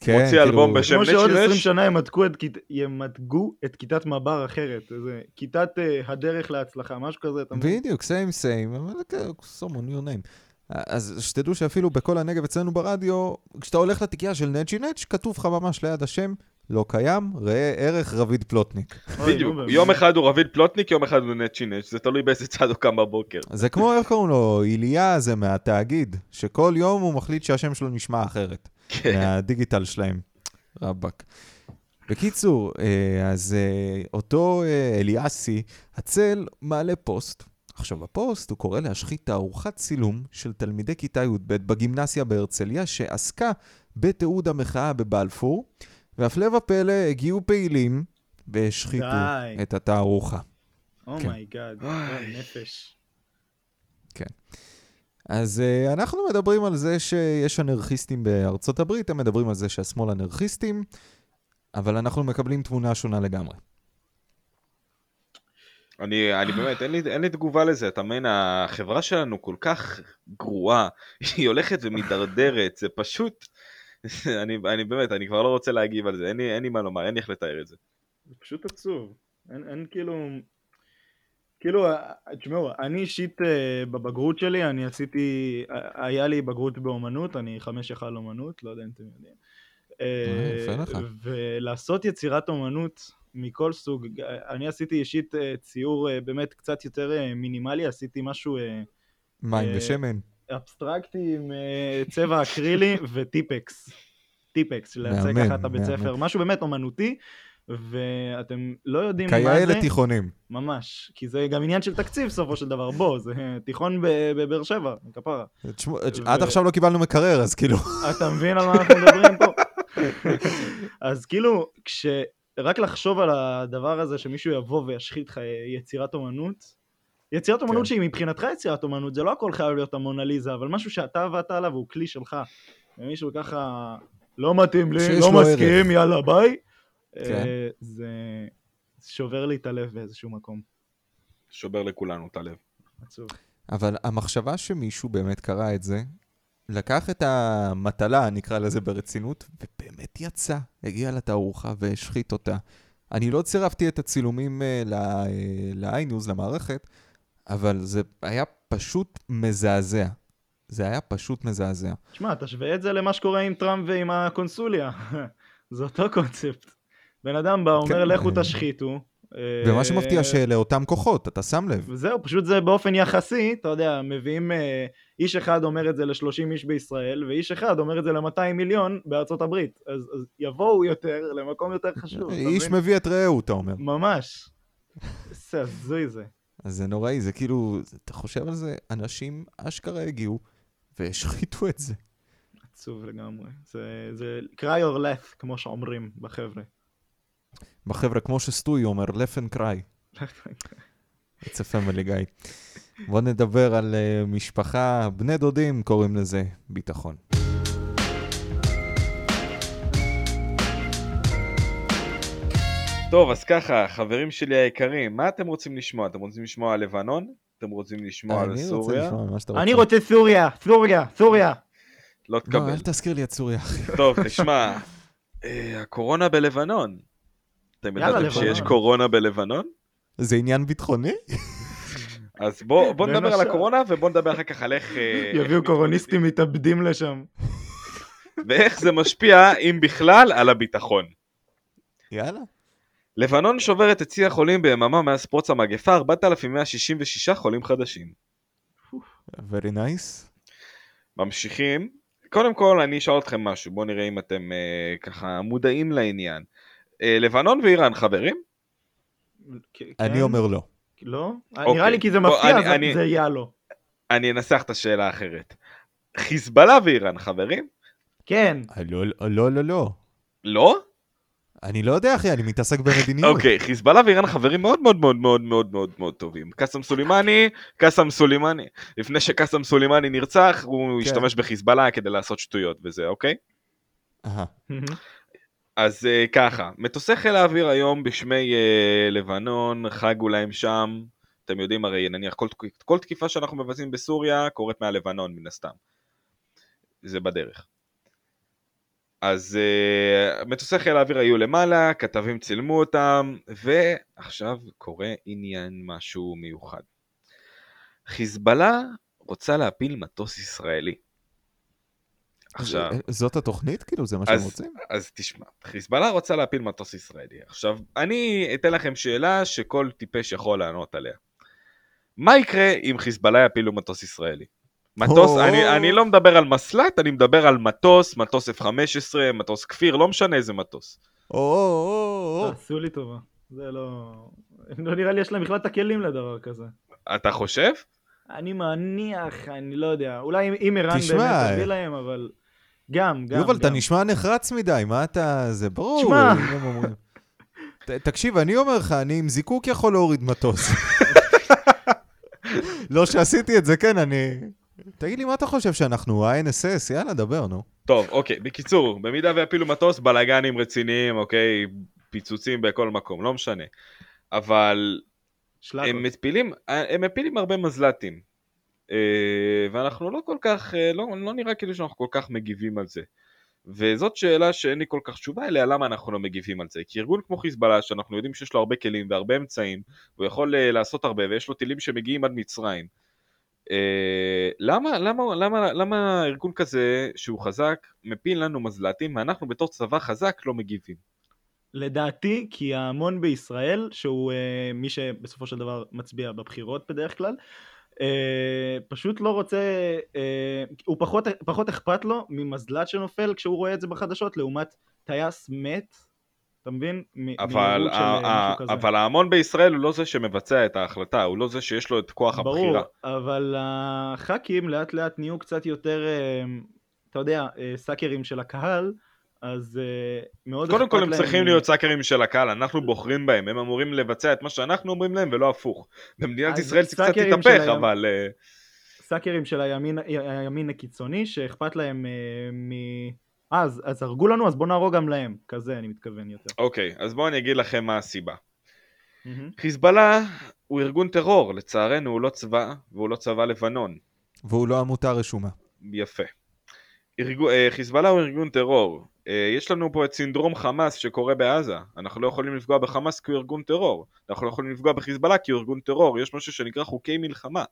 Speaker 1: כן,
Speaker 2: מוציא אלבום
Speaker 3: זה?
Speaker 2: בשם
Speaker 3: כמו
Speaker 2: נצ'י
Speaker 3: שעוד 20
Speaker 2: נש?
Speaker 3: שנה ימתגו את, כית- ימתגו את כיתת מב"ר אחרת, איזה כיתת אה, הדרך להצלחה, משהו כזה, אתה מבין?
Speaker 1: בדיוק, סיים סיים, אבל כן, סומון יור ניים. אז שתדעו שאפילו בכל הנגב אצלנו ברדיו, כשאתה הולך לתיקייה של נצ'י נץ', כתוב לך ממש ליד השם, לא קיים, ראה ערך רביד פלוטניק.
Speaker 3: אוי, נו,
Speaker 2: בדיוק,
Speaker 3: באמת.
Speaker 2: יום אחד הוא רביד פלוטניק, יום אחד הוא נצ'י נץ', זה תלוי באיזה צד הוא קם בבוקר.
Speaker 1: זה כמו, איך קוראים לו, איליה הזה מהתאגיד, שכל יום הוא מחליט שהשם שלו נשמע אחרת. מהדיגיטל שלהם. רבאק. בקיצור, אה, אז אה, אותו אה, אליאסי, הצל, מעלה פוסט. עכשיו, בפוסט הוא קורא להשחית תערוכת צילום של תלמידי כיתה י"ב בגימנסיה בהרצליה, שעסקה בתיעוד המחאה בבלפור, והפלא ופלא, הגיעו פעילים והשחיתו
Speaker 3: די.
Speaker 1: את התערוכה. כן.
Speaker 3: אומייגאד,
Speaker 2: איי.
Speaker 3: נפש.
Speaker 1: אז uh, אנחנו מדברים על זה שיש אנרכיסטים בארצות הברית, הם מדברים על זה שהשמאל אנרכיסטים, אבל אנחנו מקבלים תמונה שונה לגמרי.
Speaker 2: אני, אני באמת, אין לי, אין לי תגובה לזה, אתה מבין, החברה שלנו כל כך גרועה, היא הולכת ומידרדרת, זה פשוט, אני, אני באמת, אני כבר לא רוצה להגיב על זה, אין לי, אין לי מה לומר, אין לי איך לתאר את זה.
Speaker 3: זה פשוט עצוב. אין, אין כאילו... כאילו, אה, תשמעו, אני אישית אה, בבגרות שלי, אני עשיתי, אה, היה לי בגרות באומנות, אני חמש יחל אומנות, לא יודע אם אתם יודעים. אה,
Speaker 1: יפה לך.
Speaker 3: ולעשות יצירת אומנות מכל סוג. אני עשיתי אישית אה, ציור אה, באמת קצת יותר אה, מינימלי, עשיתי משהו אה,
Speaker 1: מים
Speaker 3: אה,
Speaker 1: ושמן.
Speaker 3: אבסטרקטי עם אה, צבע אקרילי וטיפקס. טיפקס, לייצג
Speaker 1: מהמם,
Speaker 3: ככה את הבית
Speaker 1: מהמם.
Speaker 3: ספר, משהו באמת אומנותי, ואתם לא יודעים מה
Speaker 1: כיאה
Speaker 3: זה,
Speaker 1: לתיכונים.
Speaker 3: ממש, כי זה גם עניין של תקציב בסופו של דבר, בוא, זה אה, תיכון ב- בבאר שבע, כפרה.
Speaker 1: תשמעו,
Speaker 3: אה, ו-
Speaker 1: עד עכשיו לא קיבלנו מקרר, אז כאילו...
Speaker 3: אתה מבין על מה אנחנו מדברים פה? אז כאילו, כש... רק לחשוב על הדבר הזה שמישהו יבוא וישחית לך יצירת אומנות, יצירת אומנות
Speaker 1: כן.
Speaker 3: שהיא מבחינתך יצירת אומנות, זה לא הכל חייב להיות המונליזה, אבל משהו שאתה עבדת עליו הוא כלי שלך. ומישהו ככה, לא מתאים לי,
Speaker 1: שיש
Speaker 3: לא
Speaker 1: לו ערך."
Speaker 3: מסכים, יאללה ביי.
Speaker 1: כן.
Speaker 3: אה, זה שובר לי את הלב באיזשהו מקום.
Speaker 2: שובר לכולנו את הלב.
Speaker 3: עצוב.
Speaker 1: אבל המחשבה שמישהו באמת קרא את זה, לקח את המטלה, נקרא לזה ברצינות, ובאמת יצא, הגיע לתערוכה והשחית אותה. אני לא צירפתי את הצילומים uh, ל-iNews, למערכת, אבל זה היה פשוט מזעזע. זה היה פשוט מזעזע.
Speaker 3: תשמע, תשווה את זה למה שקורה עם טראמפ ועם הקונסוליה. זה אותו קונספט. בן אדם בא, אומר,
Speaker 1: כן,
Speaker 3: לכו
Speaker 1: אה,
Speaker 3: תשחיתו. אה,
Speaker 1: ומה שמפתיע שלאותם כוחות, אתה שם לב.
Speaker 3: וזהו, פשוט זה באופן יחסי, אתה יודע, מביאים, אה, איש אחד אומר את זה ל-30 איש בישראל, ואיש אחד אומר את זה ל-200 מיליון בארצות הברית. אז, אז יבואו יותר למקום יותר חשוב. לא, אתה
Speaker 1: איש
Speaker 3: מבין?
Speaker 1: מביא את רעהו, אתה אומר.
Speaker 3: ממש. איזה הזוי זה.
Speaker 1: אז זה נוראי, זה כאילו, זה- אתה חושב על זה, אנשים אשכרה הגיעו והשחיתו את זה.
Speaker 3: עצוב לגמרי. זה, זה cry or laugh, כמו שאומרים בחבר'ה.
Speaker 1: בחבר'ה, כמו שסטוי אומר, לפן קריי. It's a family guy. בואו נדבר על uh, משפחה, בני דודים קוראים לזה ביטחון.
Speaker 2: טוב, אז ככה, חברים שלי היקרים, מה אתם רוצים לשמוע? אתם רוצים לשמוע על לבנון? אתם רוצים לשמוע על
Speaker 1: אה, אני רוצה
Speaker 2: סוריה?
Speaker 1: לשמוע על מה שאתה רוצה.
Speaker 3: אני רוצה סוריה, סוריה, סוריה.
Speaker 2: לא
Speaker 1: לא,
Speaker 2: תקבל.
Speaker 1: אל תזכיר לי את סוריה, אחי.
Speaker 2: טוב, תשמע, אה, הקורונה בלבנון. אתם
Speaker 3: יאללה,
Speaker 2: ידעתם שיש
Speaker 1: לבנון.
Speaker 2: קורונה בלבנון?
Speaker 1: זה עניין ביטחוני?
Speaker 2: אז בוא בוא
Speaker 3: בין
Speaker 2: נדבר על
Speaker 3: השאר.
Speaker 2: הקורונה ובוא נדבר אחר כך על איך... אה,
Speaker 3: יביאו קורוניסטים מתאבדים לשם.
Speaker 2: ואיך זה משפיע, אם בכלל, על הביטחון.
Speaker 1: יאללה.
Speaker 2: לבנון שוברת את שיא החולים ביממה מאז פרוץ המגפה, 4,166 חולים חדשים.
Speaker 1: Very nice.
Speaker 2: ממשיכים. קודם כל, אני אשאל אתכם משהו, בואו נראה אם אתם אה, ככה מודעים לעניין. אה, לבנון ואיראן, חברים? כן.
Speaker 1: אני אומר לא.
Speaker 3: כן? לא?
Speaker 2: אוקיי.
Speaker 3: נראה לי כי זה
Speaker 2: בוא,
Speaker 3: מפתיע,
Speaker 2: אני-
Speaker 3: זה-
Speaker 2: אני-
Speaker 3: זה יאלו.
Speaker 2: אני אנסח את השאלה האחרת. חיזבאללה ואיראן, חברים?
Speaker 3: כן,
Speaker 1: אה, לא, לא, לא, לא.
Speaker 2: לא?
Speaker 1: אני לא יודע, אחי, אני מתעסק במדיניות.
Speaker 2: אוקיי, חיזבאללה ואיראן חברים מאוד מאוד מאוד מאוד מאוד מאוד מאוד טובים. קאסם סולימני, קאסם סולימני. לפני שקאסם סולימני נרצח, הוא
Speaker 1: כן.
Speaker 2: השתמש בחיזבאללה כדי לעשות שטויות וזה, אוקיי?
Speaker 1: אהה.
Speaker 3: אה,
Speaker 2: אז אה, ככה, מטוסי חיל האוויר היום בשמי אה, לבנון, חגו להם שם. אתם יודעים הרי, נניח, כל, תק- כל תקיפה שאנחנו מבצעים בסוריה קורית מהלבנון, מן הסתם. זה בדרך. אז אה, מטוסי חיל האוויר היו למעלה, כתבים צילמו אותם, ועכשיו קורה עניין משהו מיוחד. חיזבאללה רוצה להפיל מטוס ישראלי. עכשיו...
Speaker 1: אה, זאת התוכנית? כאילו, זה מה
Speaker 2: אז-
Speaker 1: שהם רוצים?
Speaker 2: אז תשמע, חיזבאללה רוצה להפיל מטוס ישראלי. עכשיו, אני אתן לכם שאלה שכל טיפש יכול לענות עליה. מה יקרה אם חיזבאללה יפילו מטוס ישראלי? מטוס,
Speaker 1: או.
Speaker 2: אני, אני לא מדבר על מסל"ט, אני מדבר על מטוס, מטוס F-15, מטוס כפיר, לא משנה איזה מטוס.
Speaker 1: או, או, או, או.
Speaker 3: תעשו לי טובה. זה לא... לא נראה לי יש להם בכלל את הכלים לדבר כזה.
Speaker 2: אתה חושב?
Speaker 3: אני מניח, אני לא יודע. אולי אם- אם ערן
Speaker 1: תשמע.
Speaker 3: באמת תביא להם, אבל... גם, גם,
Speaker 1: יובל, אתה
Speaker 3: גם.
Speaker 1: נשמע נחרץ מדי, מה אתה... זה ברור.
Speaker 3: תשמע.
Speaker 1: הם אומרים. ת- תקשיב, אני אומר לך, אני עם זיקוק יכול להוריד מטוס. לא שעשיתי את זה, כן, אני... תגיד לי, מה אתה חושב שאנחנו, ה-NSS? יאללה, דבר, נו.
Speaker 2: טוב, אוקיי, בקיצור, במידה ויפילו מטוס, בלאגנים רציניים, אוקיי, פיצוצים בכל מקום, לא משנה. אבל
Speaker 3: שלח
Speaker 2: הם
Speaker 3: אותי.
Speaker 2: מפילים, הם מפילים הרבה מזל"טים. אה, ואנחנו לא כל כך, אה, לא, לא נראה כאילו שאנחנו כל כך מגיבים על זה. וזאת שאלה שאין לי כל כך תשובה אליה, למה אנחנו לא מגיבים על זה? כי ארגון כמו חיזבאללה, שאנחנו יודעים שיש לו הרבה כלים והרבה אמצעים, הוא יכול אה, לעשות הרבה, ויש לו טילים שמגיעים עד מצרים. אה, למה, למה, למה, למה ארגון כזה שהוא חזק מפיל לנו מזל"טים ואנחנו בתור צבא חזק לא מגיבים?
Speaker 3: לדעתי, כי ההמון בישראל, שהוא אה, מי שבסופו של דבר מצביע בבחירות בדרך כלל, אה, פשוט לא רוצה, אה, הוא פחות, פחות אכפת לו ממזל"ט שנופל כשהוא רואה את זה בחדשות, לעומת טייס מת, אתה מבין? מ-
Speaker 2: אבל,
Speaker 3: מהרוג של,
Speaker 2: ה-
Speaker 3: אה,
Speaker 2: ה-
Speaker 3: מישהו כזה.
Speaker 2: אבל ההמון בישראל הוא לא זה שמבצע את ההחלטה, הוא לא זה שיש לו את כוח הבחירה.
Speaker 3: ברור, אבל הח"כים לאט לאט נהיו קצת יותר, אה, אתה יודע, אה, סאקרים של הקהל, אז אה, מאוד
Speaker 2: קודם
Speaker 3: אכפת
Speaker 2: כל הם
Speaker 3: להם
Speaker 2: צריכים
Speaker 3: מ-
Speaker 2: להיות סאקרים של הקהל, אנחנו בוחרים בהם, הם אמורים לבצע את מה שאנחנו אומרים להם ולא הפוך. במדינת
Speaker 3: אז
Speaker 2: ישראל זה קצת
Speaker 3: סאקרים
Speaker 2: התהפך,
Speaker 3: של היום.
Speaker 2: אבל... אה,
Speaker 3: סאקרים של הימין, הימין הקיצוני, שאכפת להם אה, מ... אה, אז, אז הרגו לנו, אז בוא נהרוג גם להם. כזה אני מתכוון יותר.
Speaker 2: אוקיי, אז בואו אני אגיד לכם מה הסיבה.
Speaker 3: מהמם.
Speaker 2: חיזבאללה הוא ארגון טרור, לצערנו הוא לא צבא, והוא לא צבא לבנון.
Speaker 1: והוא לא עמותה רשומה.
Speaker 2: יפה. ארגו, אה, חיזבאללה הוא ארגון טרור. אה, יש לנו פה את סינדרום חמאס שקורה בעזה. אנחנו לא יכולים לפגוע בחמאס כי הוא ארגון טרור. אנחנו לא יכולים לפגוע בחיזבאללה כי הוא ארגון טרור. יש משהו שנקרא חוקי מלחמה.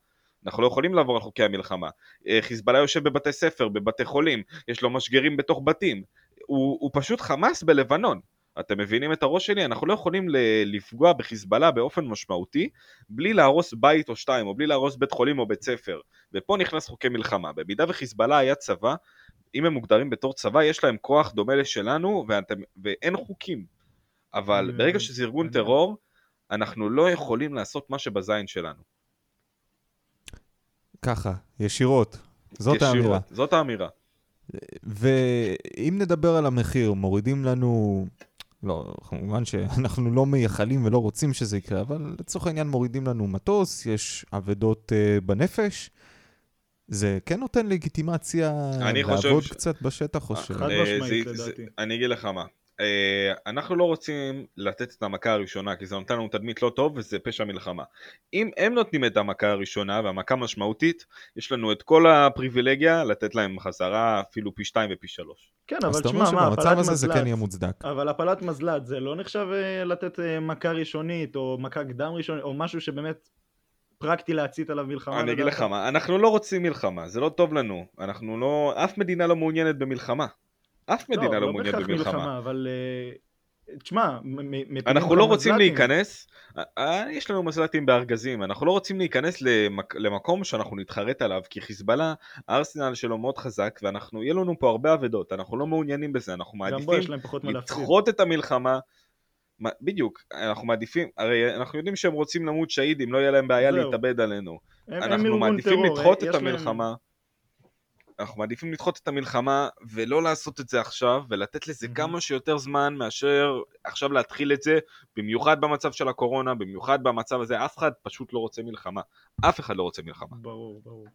Speaker 2: אנחנו לא יכולים לעבור על חוקי המלחמה. אה, חיזבאללה יושב בבתי ספר, בבתי חולים, יש לו משגרים בתוך בתים. הוא, הוא פשוט חמאס בלבנון. אתם מבינים את הראש שלי? אנחנו לא יכולים ל- לפגוע בחיזבאללה באופן משמעותי בלי להרוס בית או שתיים, או בלי להרוס בית חולים או בית ספר. ופה נכנס חוקי מלחמה. במידה וחיזבאללה היה צבא, אם הם מוגדרים בתור צבא, יש להם כוח דומה לשלנו, ואתם, ואין חוקים. אבל
Speaker 3: Mm,
Speaker 2: ברגע שזה ארגון
Speaker 3: מעניין.
Speaker 2: טרור, אנחנו לא יכולים לעשות מה שבזין שלנו.
Speaker 1: ככה, ישירות. זאת
Speaker 2: ישירות.
Speaker 1: האמירה.
Speaker 2: זאת האמירה.
Speaker 1: ואם נדבר על המחיר, מורידים לנו... לא, כמובן שאנחנו לא מייחלים ולא רוצים שזה יקרה, אבל לצורך העניין מורידים לנו מטוס, יש אבדות uh, בנפש. זה כן נותן לגיטימציה
Speaker 2: אני חושב
Speaker 1: לעבוד
Speaker 2: ש-
Speaker 1: קצת בשטח, או ש...
Speaker 3: חד
Speaker 2: אה,
Speaker 3: משמעית,
Speaker 2: זה- זה-
Speaker 3: לדעתי.
Speaker 2: אני אגיד לך מה. אה, אנחנו לא רוצים לתת את המכה הראשונה, כי זה נותן לנו תדמית לא טוב וזה פשע מלחמה. אם הם נותנים את המכה הראשונה, והמכה משמעותית, יש לנו את כל הפריבילגיה לתת להם חזרה אפילו פי שתיים ופי שלוש.
Speaker 3: כן,
Speaker 1: אז
Speaker 3: אבל
Speaker 1: אתה אומר
Speaker 3: תשמע, מה, הפלת אה.
Speaker 1: שבמצב הזה זה
Speaker 3: מזל"ט,
Speaker 1: כן יהיה מוצדק.
Speaker 3: אבל הפלת מזל"ט זה לא נחשב אה, לתת אה, מכה ראשונית, או מכה קדם ראשונית, או משהו שבאמת פרקטי להצית עליו מלחמה.
Speaker 2: אני אגיד
Speaker 3: לדעתך?
Speaker 2: לך מה, אנחנו לא רוצים מלחמה, זה לא טוב לנו. אנחנו לא, אף מדינה לא מעוניינת במלחמה. אף מדינה לא מעוניינת
Speaker 3: בהכרח
Speaker 2: במלחמה.
Speaker 3: אבל אה, תשמע, מ- מ- מפילים
Speaker 2: אנחנו
Speaker 3: לך
Speaker 2: לא רוצים
Speaker 3: מזל"טים.
Speaker 2: להיכנס, אה, אה, יש לנו מזל"טים בארגזים, אנחנו לא רוצים להיכנס למק, למקום שאנחנו נתחרט עליו, כי חיזבאללה, הארסנל שלו מאוד חזק, ואנחנו, יהיה לנו פה הרבה אבדות, אנחנו לא מעוניינים בזה, אנחנו
Speaker 3: גם בו
Speaker 2: מעדיפים
Speaker 3: יש להם פחות מה להפסיד.
Speaker 2: לדחות את המלחמה. מה- בדיוק, אנחנו מעדיפים, הרי אנחנו יודעים שהם רוצים למות שהידים, לא יהיה להם בעיה
Speaker 3: זהו.
Speaker 2: להתאבד עלינו.
Speaker 3: הם- הם
Speaker 2: אנחנו
Speaker 3: ארגון
Speaker 2: מעדיפים
Speaker 3: טרור,
Speaker 2: לדחות
Speaker 3: אה,
Speaker 2: את
Speaker 3: יש להם-
Speaker 2: המלחמה. אנחנו מעדיפים לדחות את המלחמה ולא לעשות את זה עכשיו ולתת לזה
Speaker 3: מהמם.
Speaker 2: כמה שיותר זמן מאשר עכשיו להתחיל את זה במיוחד במצב של הקורונה במיוחד במצב הזה אף אחד פשוט לא רוצה מלחמה אף אחד לא רוצה מלחמה
Speaker 3: ברור, ברור.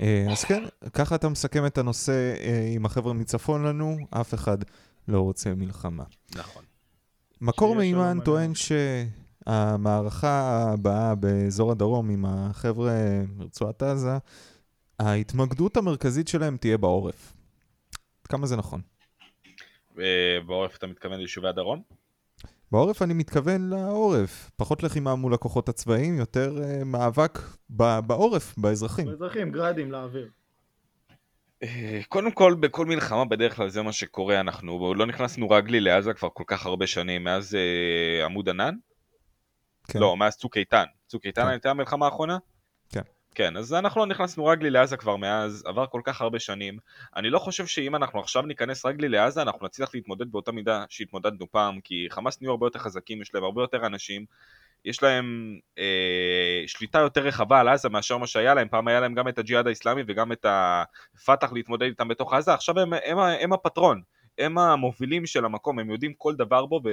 Speaker 1: אה, אז כן, ככה אתה מסכם את הנושא אה, עם החבר'ה מצפון לנו, אף אחד לא רוצה מלחמה.
Speaker 2: נכון
Speaker 1: מקור
Speaker 3: שיש לנו
Speaker 1: מימן
Speaker 3: מלא.
Speaker 1: טוען שהמערכה הבאה באזור הדרום עם החבר'ה מרצועת עזה, ההתמקדות המרכזית שלהם תהיה בעורף. כמה זה נכון?
Speaker 2: אה, בעורף אתה מתכוון ליישובי הדרום
Speaker 1: בעורף אני מתכוון לעורף, פחות לחימה מול הכוחות הצבאיים, יותר אה, מאבק ב- בעורף, באזרחים.
Speaker 3: אזרחים, גראדים לאוויר.
Speaker 2: אה, קודם כל, בכל מלחמה בדרך כלל זה מה שקורה, אנחנו לא נכנסנו רגלי לעזה כבר כל כך הרבה שנים, מאז אה, עמוד ענן?
Speaker 1: כן.
Speaker 2: לא, מאז צוק איתן. צוק איתן
Speaker 1: כן.
Speaker 2: הייתה המלחמה האחרונה?
Speaker 1: כן.
Speaker 2: כן, אז אנחנו לא נכנסנו רגלי לעזה כבר מאז, עבר כל כך הרבה שנים. אני לא חושב שאם אנחנו עכשיו ניכנס רגלי לעזה, אנחנו נצליח להתמודד באותה מידה שהתמודדנו פעם, כי חמאס נהיו הרבה יותר חזקים, יש להם הרבה יותר אנשים, יש להם אה, שליטה יותר רחבה על עזה מאשר מה שהיה להם, פעם היה להם גם את הג'יהאד האיסלאמי וגם את הפת"ח להתמודד איתם בתוך עזה, עכשיו הם, הם, ה- הם הפטרון, הם המובילים של המקום, הם יודעים כל דבר בו ו,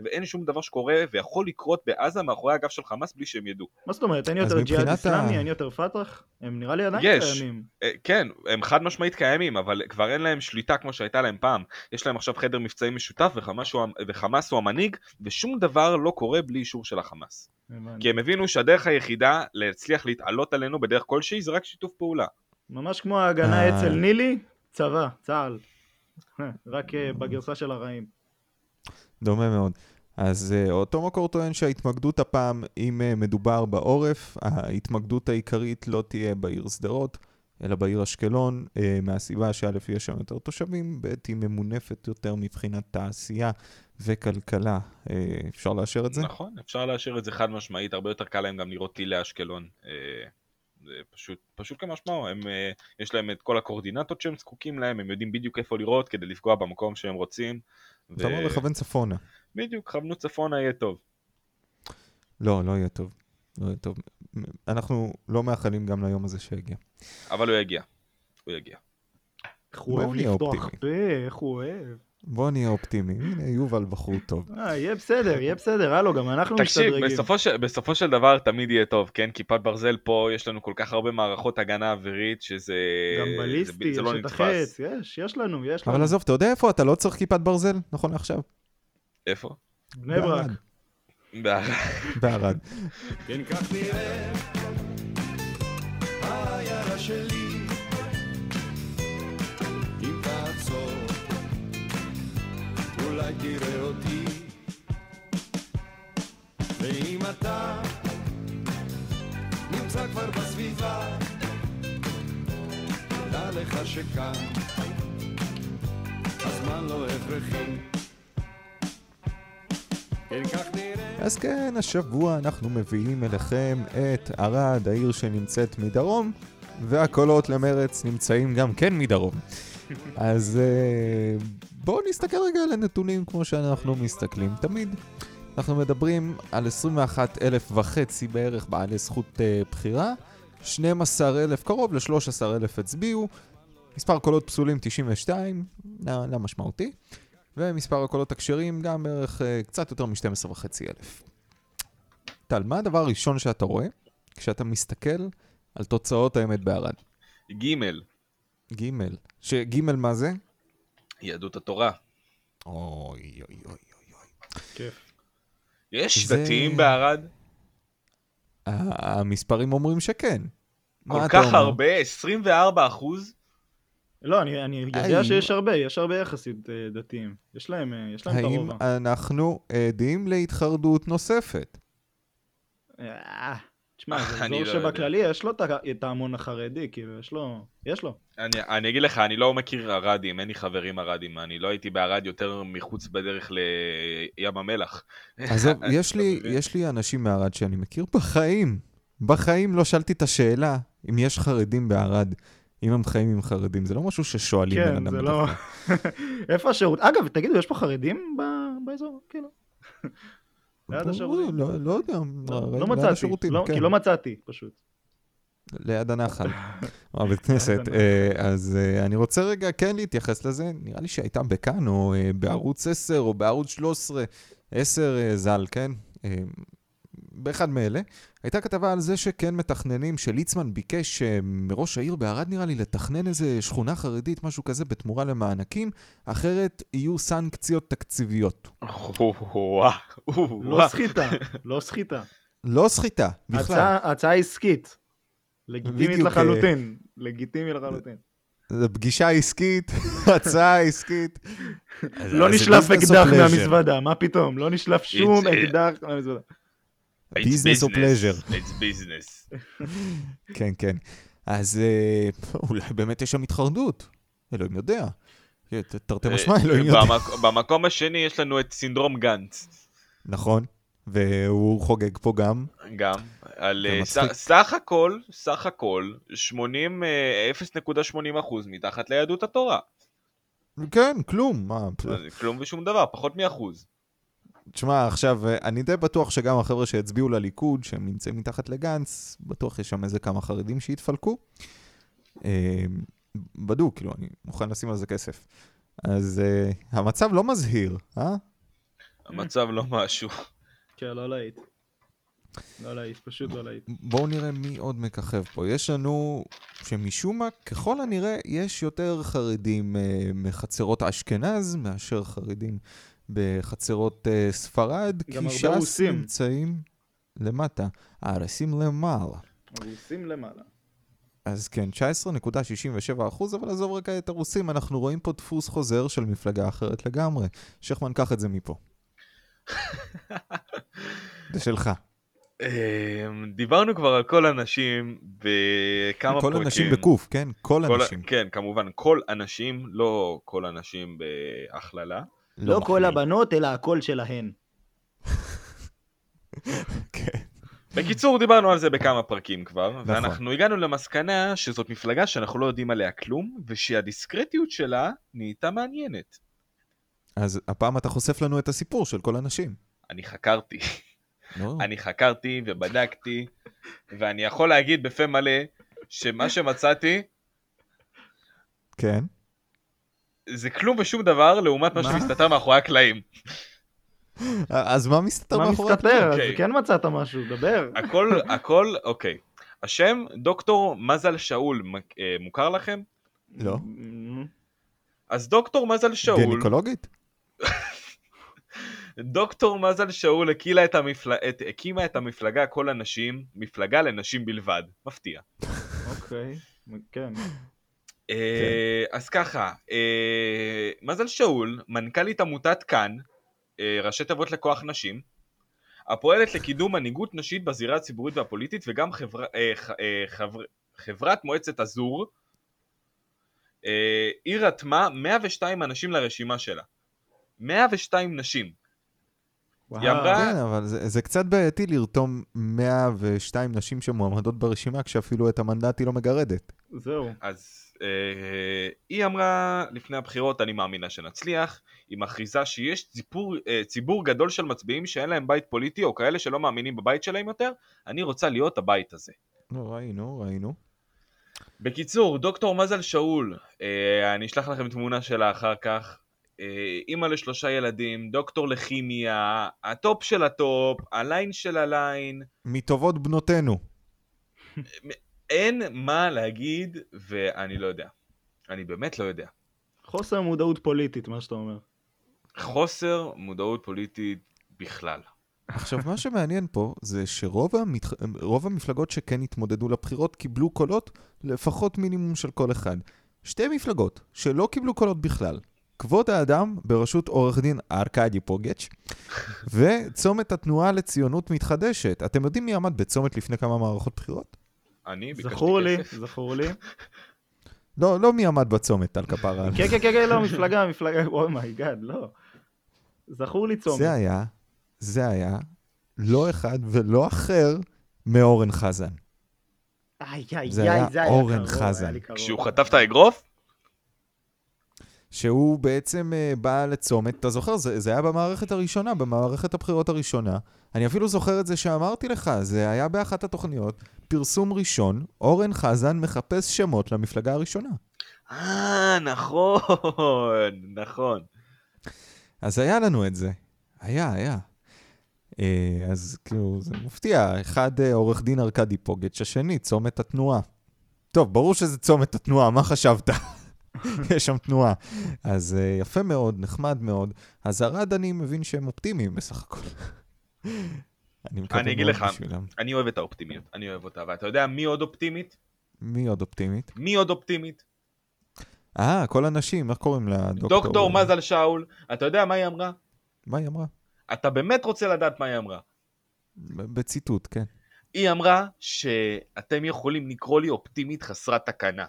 Speaker 2: ואין שום דבר שקורה ויכול לקרות בעזה מאחורי הגב של חמאס בלי שהם ידעו.
Speaker 3: מה זאת אומרת, אין
Speaker 1: אז
Speaker 3: יותר ג'יהאד
Speaker 1: מבחינת
Speaker 3: איסלאמי,
Speaker 1: ה-
Speaker 3: אין יותר פת"ח? הם נראה לי עדיין
Speaker 2: יש.
Speaker 3: קיימים.
Speaker 2: אה, כן, הם חד משמעית קיימים, אבל כבר אין להם שליטה כמו שהייתה להם פעם. יש להם עכשיו חדר מבצעים משותף וחמאס הוא, המ- וחמאס הוא המנהיג, ושום דבר לא קורה בלי אישור של החמאס.
Speaker 3: הבנתי.
Speaker 2: כי הם הבינו שהדרך היחידה להצליח להתעלות עלינו בדרך כלשהי זה רק שיתוף פעולה.
Speaker 3: ממש כמו ההגנה
Speaker 1: אה.
Speaker 3: אצל נילי, צבא, צה"ל. רק אה, בגרסה של הרעים.
Speaker 1: דומה מאוד. אז אה, אותו מקור טוען שההתמקדות הפעם, אם אה, מדובר בעורף, ההתמקדות העיקרית לא תהיה בעיר שדרות, אלא בעיר אשקלון, אה, מהסיבה שא' יש שם יותר תושבים, ב' היא ממונפת יותר מבחינת תעשייה וכלכלה. אה, אפשר לאשר את זה?
Speaker 2: נכון, אפשר לאשר את זה חד משמעית, הרבה יותר קל להם גם לראות טיל לאשקלון. אה, זה פשוט, פשוט כמשמעו, הם, אה, יש להם את כל הקואורדינטות שהם זקוקים להם, הם יודעים בדיוק איפה לראות כדי לפגוע במקום שהם רוצים. ו-
Speaker 1: אתה אומר לכוון צפונה.
Speaker 2: בדיוק, כוונו צפונה יהיה טוב.
Speaker 1: לא, לא יהיה טוב. לא יהיה טוב. אנחנו לא מאחלים גם ליום הזה שיגיע.
Speaker 2: אבל הוא יגיע. הוא יגיע.
Speaker 3: איך הוא
Speaker 1: בואו
Speaker 3: אוהב
Speaker 1: נהיה
Speaker 3: לפתוח
Speaker 1: אופטימיים.
Speaker 3: פה, איך הוא אוהב.
Speaker 1: בוא נהיה אופטימיים. הנה, יובל בחור טוב.
Speaker 3: אה, יהיה בסדר, יהיה בסדר, הלו, גם אנחנו לא משתדרגים.
Speaker 2: תקשיב, בסופו, ש... בסופו של דבר תמיד יהיה טוב, כן? כיפת ברזל פה, יש לנו כל כך הרבה מערכות הגנה אווירית, שזה...
Speaker 3: גם בליסטי,
Speaker 2: זה,
Speaker 3: יש
Speaker 2: זה לא
Speaker 3: את
Speaker 2: נתפס.
Speaker 3: החץ, יש, יש לנו, יש לנו.
Speaker 1: אבל עזוב, אתה יודע איפה אתה לא צריך כיפת ברזל? נכון לעכשיו.
Speaker 2: איפה?
Speaker 3: בני ברק.
Speaker 1: בערד.
Speaker 2: בערד.
Speaker 1: בערד.
Speaker 4: כן, כך נראית העיירה שלי. אם תעצור, אולי תראה אותי. ואם אתה נמצא כבר בסביבה, דע לך שכאן הזמן לא הכרחי. כן, כך נראית
Speaker 1: אז כן, השבוע אנחנו מביאים אליכם את ערד, העיר שנמצאת מדרום, והקולות למרץ נמצאים גם כן מדרום. אז אה, בואו נסתכל רגע על הנתונים כמו שאנחנו מסתכלים תמיד. אנחנו מדברים על 21 אלף וחצי בערך בעלי זכות אה, בחירה, 12 אלף, קרוב ל-13 אלף הצביעו, מספר קולות פסולים 92, לא לא משמעותי, ומספר הקולות הכשרים גם בערך אה, קצת יותר מ-12 וחצי אלף. טל, מה הדבר הראשון שאתה רואה כשאתה מסתכל על תוצאות האמת בערד?
Speaker 2: ג'
Speaker 1: ג' שג' מה זה?
Speaker 2: יהדות התורה.
Speaker 1: אוי אוי אוי.
Speaker 3: כיף.
Speaker 2: יש
Speaker 1: זה-
Speaker 2: דתיים בערד?
Speaker 1: ה- המספרים אומרים שכן. מה
Speaker 2: כל
Speaker 1: אתה
Speaker 2: כך
Speaker 1: אומר?
Speaker 2: הרבה? 24 אחוז?
Speaker 3: לא, אני, אני
Speaker 1: האם-
Speaker 3: יודע שיש הרבה, יש הרבה יחסית אה, דתיים. יש להם, אה, יש להם את
Speaker 1: האם
Speaker 3: הרובע.
Speaker 1: אנחנו עדים להתחרדות נוספת?
Speaker 3: אה, תשמע, זה
Speaker 2: אני
Speaker 3: אזור
Speaker 2: לא יודע.
Speaker 3: שבכללי יש לו את ה- את ההמון החרדי, כאילו, יש לו, יש לו.
Speaker 2: אני, אני אגיד לך, אני לא מכיר ערדים, אין לי חברים ערדים, אני לא הייתי בערד יותר מחוץ בדרך לים המלח.
Speaker 1: עזוב, יש,
Speaker 2: אתה
Speaker 1: לי,
Speaker 2: מבין?
Speaker 1: יש לי אנשים מערד שאני מכיר בחיים. בחיים לא שאלתי את השאלה אם יש חרדים בערד, אם הם חיים עם חרדים. זה לא משהו ששואלים בן
Speaker 3: כן,
Speaker 1: אדם
Speaker 3: זה
Speaker 1: בדרך
Speaker 3: לא...
Speaker 1: כלל.
Speaker 3: איפה השירות? אגב, תגידו, יש פה חרדים ב- באזור? כאילו. ליד
Speaker 1: ברור,
Speaker 3: השירותים.
Speaker 1: לא, לא יודע,
Speaker 3: לא
Speaker 1: ליד
Speaker 3: לא מצאתי,
Speaker 1: השירותים,
Speaker 3: לא-
Speaker 1: כן.
Speaker 3: כי לא מצאתי פשוט.
Speaker 1: ליד הנחל, או הבית כנסת. אה, אז אה, אני רוצה רגע כן להתייחס לזה, נראה לי שהייתה בכאן, או אה, בערוץ 10, או בערוץ 13, 10 אה, ז"ל, כן? אה, באחד מאלה. הייתה כתבה על זה שכן מתכננים, שליצמן ביקש אה, מראש העיר בערד, נראה לי, לתכנן איזה שכונה חרדית, משהו כזה, בתמורה למענקים, אחרת יהיו סנקציות תקציביות.
Speaker 2: וואו,
Speaker 3: לא סחיטה, לא סחיטה.
Speaker 1: לא סחיטה, בכלל.
Speaker 3: הצעה- הצעה עסקית. לגיטימית
Speaker 1: בדיוק, אה,
Speaker 3: לחלוטין. לגיטימי לחלוטין.
Speaker 1: זו פגישה עסקית, הצעה עסקית.
Speaker 3: לא
Speaker 1: אז זה
Speaker 3: נשלף
Speaker 1: business of
Speaker 3: אקדח
Speaker 1: pleasure.
Speaker 3: מהמזוודה, מה פתאום? לא נשלף שום
Speaker 2: אה,
Speaker 3: אקדח מהמזוודה.
Speaker 1: Business or pleasure.
Speaker 2: It's business.
Speaker 1: כן, כן. אז אה, אולי באמת יש שם התחרדות, אלוהים יודע. כן, ת- תרתי משמע,
Speaker 2: אה,
Speaker 1: אלוהים יודע.
Speaker 2: במק- במקום השני יש לנו את סינדרום גנץ.
Speaker 1: נכון, והוא חוגג פה גם.
Speaker 2: גם, על
Speaker 1: זה
Speaker 2: אה,
Speaker 1: מצחיק.
Speaker 2: ס- סך הכל, סך הכל, 80, אה, 0.80 אחוז מתחת ליהדות התורה.
Speaker 1: כן, כלום, מה...
Speaker 2: אז כלום ושום דבר, פחות מאחוז.
Speaker 1: תשמע, עכשיו, אה, אני די בטוח שגם החבר'ה שהצביעו לליכוד, שהם נמצאים מתחת לגנץ, בטוח יש שם איזה כמה חרדים שהתפלקו. אה, בדוק, כאילו, אני מוכן לשים על זה כסף. אז אה, המצב לא מזהיר, אה?
Speaker 2: המצב לא משהו.
Speaker 3: כן, לא להיט. לא להיט, פשוט לא להיט.
Speaker 1: בואו נראה מי עוד מככב פה. יש לנו שמשום מה, ככל הנראה, יש יותר חרדים אה, מחצרות אשכנז מאשר חרדים בחצרות אה, ספרד,
Speaker 3: גם
Speaker 1: כי
Speaker 3: הרבה
Speaker 1: ש"ס
Speaker 3: רוסים.
Speaker 1: נמצאים למטה. הרסים למעלה.
Speaker 3: הרוסים למעלה.
Speaker 1: אז כן, 19.67 אחוז, אבל עזוב רגע את הרוסים, אנחנו רואים פה דפוס חוזר של מפלגה אחרת לגמרי. שכמן, קח את זה מפה. זה שלך.
Speaker 2: אמ, דיברנו כבר על כל הנשים
Speaker 1: כל
Speaker 2: בכמה פרקים.
Speaker 1: הנשים בקוף, כן? כל
Speaker 2: כל-
Speaker 1: הנשים.
Speaker 2: כן, כמובן, כל אנשים, לא כל הנשים בהכללה.
Speaker 3: לא כל
Speaker 1: מחמיא.
Speaker 3: הבנות, אלא הקול שלהן.
Speaker 1: כן.
Speaker 2: בקיצור, דיברנו על זה בכמה פרקים כבר,
Speaker 1: נכון.
Speaker 2: ואנחנו הגענו למסקנה שזאת מפלגה שאנחנו לא יודעים עליה כלום, ושהדיסקרטיות שלה נהייתה מעניינת.
Speaker 1: אז הפעם אתה חושף לנו את הסיפור של כל הנשים.
Speaker 2: אני חקרתי,
Speaker 1: נו.
Speaker 2: אני חקרתי ובדקתי, ואני יכול להגיד בפה מלא, שמה שמצאתי
Speaker 1: כן.
Speaker 2: זה כלום ושום דבר לעומת מה
Speaker 1: מה?
Speaker 2: שמסתתר מאחורי הקלעים.
Speaker 1: אז מה מסתתר
Speaker 3: מה
Speaker 1: מאחורי
Speaker 3: מסתתר? אז
Speaker 2: אוקיי.
Speaker 3: כן מצאת משהו, דבר.
Speaker 2: הכל, הכל, אוקיי. השם דוקטור מזל שאול מ- אה, מוכר לכם?
Speaker 1: לא.
Speaker 3: נו.
Speaker 2: אז דוקטור מזל שאול,
Speaker 1: גינקולוגית?
Speaker 2: דוקטור מזל שאול הקילה את המפל... את... הקימה את המפלגה כל הנשים, מפלגה לנשים בלבד. מפתיע.
Speaker 3: אוקיי, כן.
Speaker 2: אה, אז ככה, אה, מזל שאול, מנכ"לית עמותת כאן, אה, ראשי תיבות לכוח נשים, הפועלת לקידום מנהיגות נשית בזירה הציבורית והפוליטית וגם חברה, אה, ח- אה, חבר, חברת מועצת אזור, אה, היא רתמה 102 אנשים לרשימה שלה. 102 נשים. היא אמרה-
Speaker 1: כן, אבל זה, זה קצת בעייתי לרתום 102 נשים שמועמדות ברשימה כשאפילו את המנדט היא לא מגרדת.
Speaker 3: זהו.
Speaker 2: אז אה, היא אמרה לפני הבחירות, אני מאמינה שנצליח, היא מכריזה שיש ציבור, אה, ציבור גדול של מצביעים שאין להם בית פוליטי, או כאלה שלא מאמינים בבית שלהם יותר, אני רוצה להיות הבית הזה.
Speaker 1: נו, ראינו, ראינו.
Speaker 2: בקיצור, דוקטור מזל שאול, אה, אני אשלח לכם תמונה שלה אחר כך. אה, אימא לשלושה ילדים, דוקטור לכימיה, הטופ של הטופ, הליין של הליין,
Speaker 1: מטובות בנותינו.
Speaker 2: אין מה להגיד, ואני לא יודע. אני באמת לא יודע.
Speaker 3: חוסר מודעות פוליטית, מה שאתה אומר.
Speaker 2: חוסר מודעות פוליטית בכלל.
Speaker 1: עכשיו, מה שמעניין פה זה שרוב המתח... רוב המפלגות שכן התמודדו לבחירות קיבלו קולות לפחות מינימום של קול אחד. שתי מפלגות שלא קיבלו קולות בכלל, כבוד האדם בראשות עורך דין ארקדי פוגץ' וצומת התנועה לציונות מתחדשת. אתם יודעים מי עמד בצומת לפני כמה מערכות בחירות?
Speaker 2: אני ביקשתי
Speaker 3: זכור לי,
Speaker 2: כסף.
Speaker 3: זכור לי.
Speaker 1: לא, לא מי עמד בצומת, על כפרה.
Speaker 3: כן, כן, כן, כן, לא, מפלגה, מפלגה, אומייגאד, לא. זכור לי צומת.
Speaker 1: זה היה, זה היה לא אחד ולא אחר מאורן חזן.
Speaker 3: איי, איי,
Speaker 1: זה
Speaker 3: איי,
Speaker 1: היה
Speaker 3: זה
Speaker 1: אורן
Speaker 3: קרוב,
Speaker 1: חזן.
Speaker 3: היה לי קרוב.
Speaker 2: כשהוא חטף את האגרוף?
Speaker 1: שהוא בעצם אה, בא לצומת, אתה זוכר? זה, זה היה במערכת הראשונה, במערכת הבחירות הראשונה. אני אפילו זוכר את זה שאמרתי לך, זה היה באחת התוכניות, פרסום ראשון, אורן חזן מחפש שמות למפלגה הראשונה.
Speaker 2: אה, נכון, נכון.
Speaker 1: אז היה לנו את זה. היה, היה. אה, אז כאילו, זה מפתיע. אחד אה, עורך דין ארכדי פוגץ', השני, צומת התנועה. טוב, ברור שזה צומת התנועה, מה חשבת? יש שם תנועה. אז אה, יפה מאוד, נחמד מאוד. אז ערד, אני מבין שהם אופטימיים בסך הכל. אני מקווה
Speaker 2: אני אגיד
Speaker 1: מאוד
Speaker 2: לך.
Speaker 1: בשבילם.
Speaker 2: אני אוהב את האופטימיות, אני אוהב אותה, ואתה יודע מי עוד אופטימית?
Speaker 1: מי עוד אופטימית?
Speaker 2: מי עוד אופטימית?
Speaker 1: אה, כל הנשים, איך קוראים לדוקטור?
Speaker 2: דוקטור מזל שאול, אתה יודע מה היא אמרה?
Speaker 1: מה היא אמרה?
Speaker 2: אתה באמת רוצה לדעת מה היא אמרה.
Speaker 1: ב- בציטוט, כן.
Speaker 2: היא אמרה שאתם יכולים לקרוא לי אופטימית חסרת תקנה.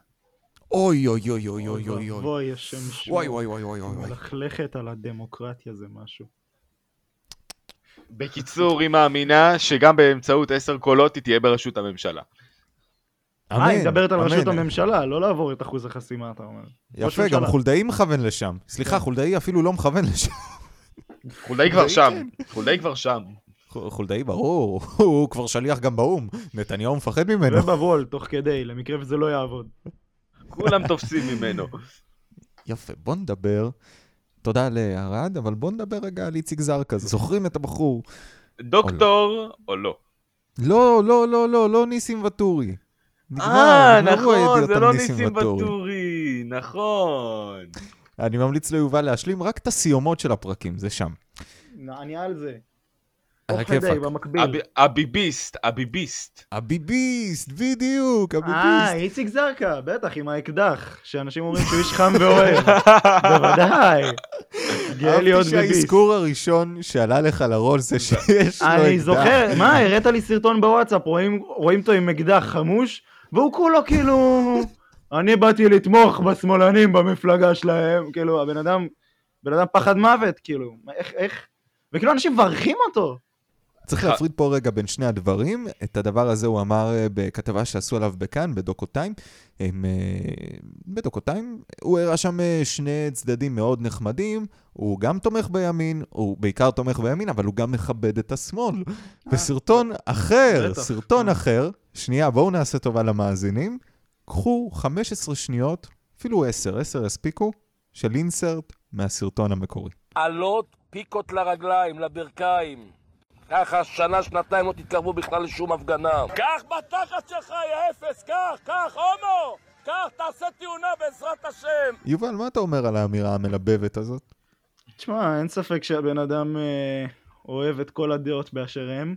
Speaker 1: אוי, אוי, אוי, אוי, אוי, אוי, אוי.
Speaker 3: אוי, השם שמו.
Speaker 1: וואי, וואי, וואי, וואי, וואי.
Speaker 3: מלכלכת על הדמוקרטיה זה משהו.
Speaker 2: בקיצור, היא מאמינה שגם באמצעות עשר קולות היא תהיה בראשות הממשלה.
Speaker 3: אה, היא מדברת על
Speaker 1: אמן.
Speaker 3: ראשות הממשלה, לא לעבור את אחוז החסימה, אתה אומר. ראש
Speaker 1: יפה,
Speaker 3: ממשלה. כן.
Speaker 1: גם חולדאי מכוון לשם. סליחה, חולדאי אפילו לא מכוון לשם.
Speaker 2: חולדאי כבר
Speaker 1: חולדאי,
Speaker 2: שם,
Speaker 3: כן.
Speaker 2: חולדאי כבר שם.
Speaker 1: חו- חולדאי ברור, הוא כבר שליח גם באו"ם. נתניהו מפחד ממנו.
Speaker 3: ובוול, תוך כדי, למקרה וזה לא יעבוד.
Speaker 2: כולם תופסים ממנו.
Speaker 1: יפה, בוא נדבר. תודה לארד, אבל בוא נדבר רגע על איציק זרקא. זוכרים את הבחור?
Speaker 2: לא? דוקטור או לא.
Speaker 1: לא, לא, לא, לא, לא ניסים ואטורי. נגמר,
Speaker 2: אה,
Speaker 1: נגמרו
Speaker 2: נכון,
Speaker 1: הידיעות
Speaker 2: זה
Speaker 1: על
Speaker 2: לא ניסים ואטורי, נכון.
Speaker 1: אני ממליץ ליובל להשלים רק את הסיומות של הפרקים, זה שם.
Speaker 3: אני על לא, זה.
Speaker 1: על
Speaker 3: תוך כדי,
Speaker 1: הכיפאק.
Speaker 3: במקביל.
Speaker 2: הב- הביביסט, הביביסט.
Speaker 1: הביביסט, בדיוק,
Speaker 3: אה,
Speaker 1: הביביסט.
Speaker 3: איציק זרקא, בטח, עם האקדח, שאנשים אומרים שהוא איש חם ואוהב. בוודאי. גאה להיות
Speaker 1: אהבתי
Speaker 3: ביביסט.
Speaker 1: שהאזכור הראשון שעלה לך לראש זה שיש לו אקדח.
Speaker 3: אני זוכר, מה, הראת לי סרטון בוואטסאפ, רואים רואים אותו עם אקדח חמוש, והוא כולו כאילו... אני באתי לתמוך בשמאלנים במפלגה שלהם, כאילו, הבן אדם, בן אדם פחד מוות, כאילו, מה, איך, איך? וכאילו אנשים מברכים אותו.
Speaker 1: צריך להפריד פה רגע בין שני הדברים. את הדבר הזה הוא אמר אה, בכתבה שעשו עליו בכאן, בדוקו-טיים. הם, אה, בדוקו-טיים. הוא הראה שם אה, שני צדדים מאוד נחמדים. הוא גם תומך בימין, הוא בעיקר תומך בימין, אבל הוא גם מכבד את השמאל. בסרטון אחר,
Speaker 3: בטח.
Speaker 1: סרטון אחר, שנייה, בואו נעשה טובה למאזינים. קחו 15 שניות, אפילו 10, 10 הספיקו, של אינסרט מהסרטון המקורי.
Speaker 5: עלות פיקות לרגליים, לברכיים. ככה שנה, שנתיים לא תתקרבו בכלל לשום הפגנה. קח בתחת שלך, יא אפס, קח, קח, הומו! קח, תעשה תאונה בעזרת השם!
Speaker 1: יובל, מה אתה אומר על האמירה המלבבת הזאת?
Speaker 3: תשמע, אין ספק שהבן אדם אה, אוהב את כל הדעות באשר הם.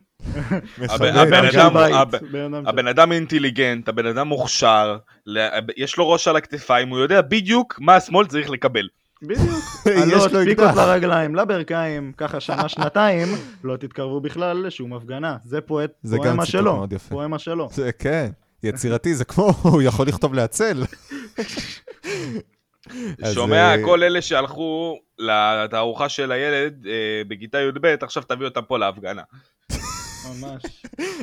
Speaker 2: הבן
Speaker 3: של
Speaker 2: אדם-
Speaker 3: בית,
Speaker 2: הב-
Speaker 3: בן אדם של-
Speaker 2: הבן אדם אינטליגנט, הבן אדם מוכשר, ל- יש לו ראש על הכתפיים, הוא יודע בדיוק מה השמאל צריך לקבל.
Speaker 3: בדיוק.
Speaker 1: יש לו
Speaker 3: עלות, פיקות
Speaker 1: אקדח.
Speaker 3: לרגליים, לברכיים, ככה שנה, שנתיים, לא תתקרבו בכלל לשום הפגנה. זה פואט,
Speaker 1: זה גם
Speaker 3: פואמה
Speaker 1: ציטוט
Speaker 3: שלו.
Speaker 1: מאוד יפה.
Speaker 3: פואמה שלו.
Speaker 1: זה כן, יצירתי, זה כמו, הוא יכול לכתוב להצל. אז,
Speaker 2: שומע,
Speaker 1: אה,
Speaker 2: כל אלה שהלכו לתערוכה של הילד אה, בכיתה י"ב, עכשיו תביא אותם פה להפגנה.
Speaker 3: ממש.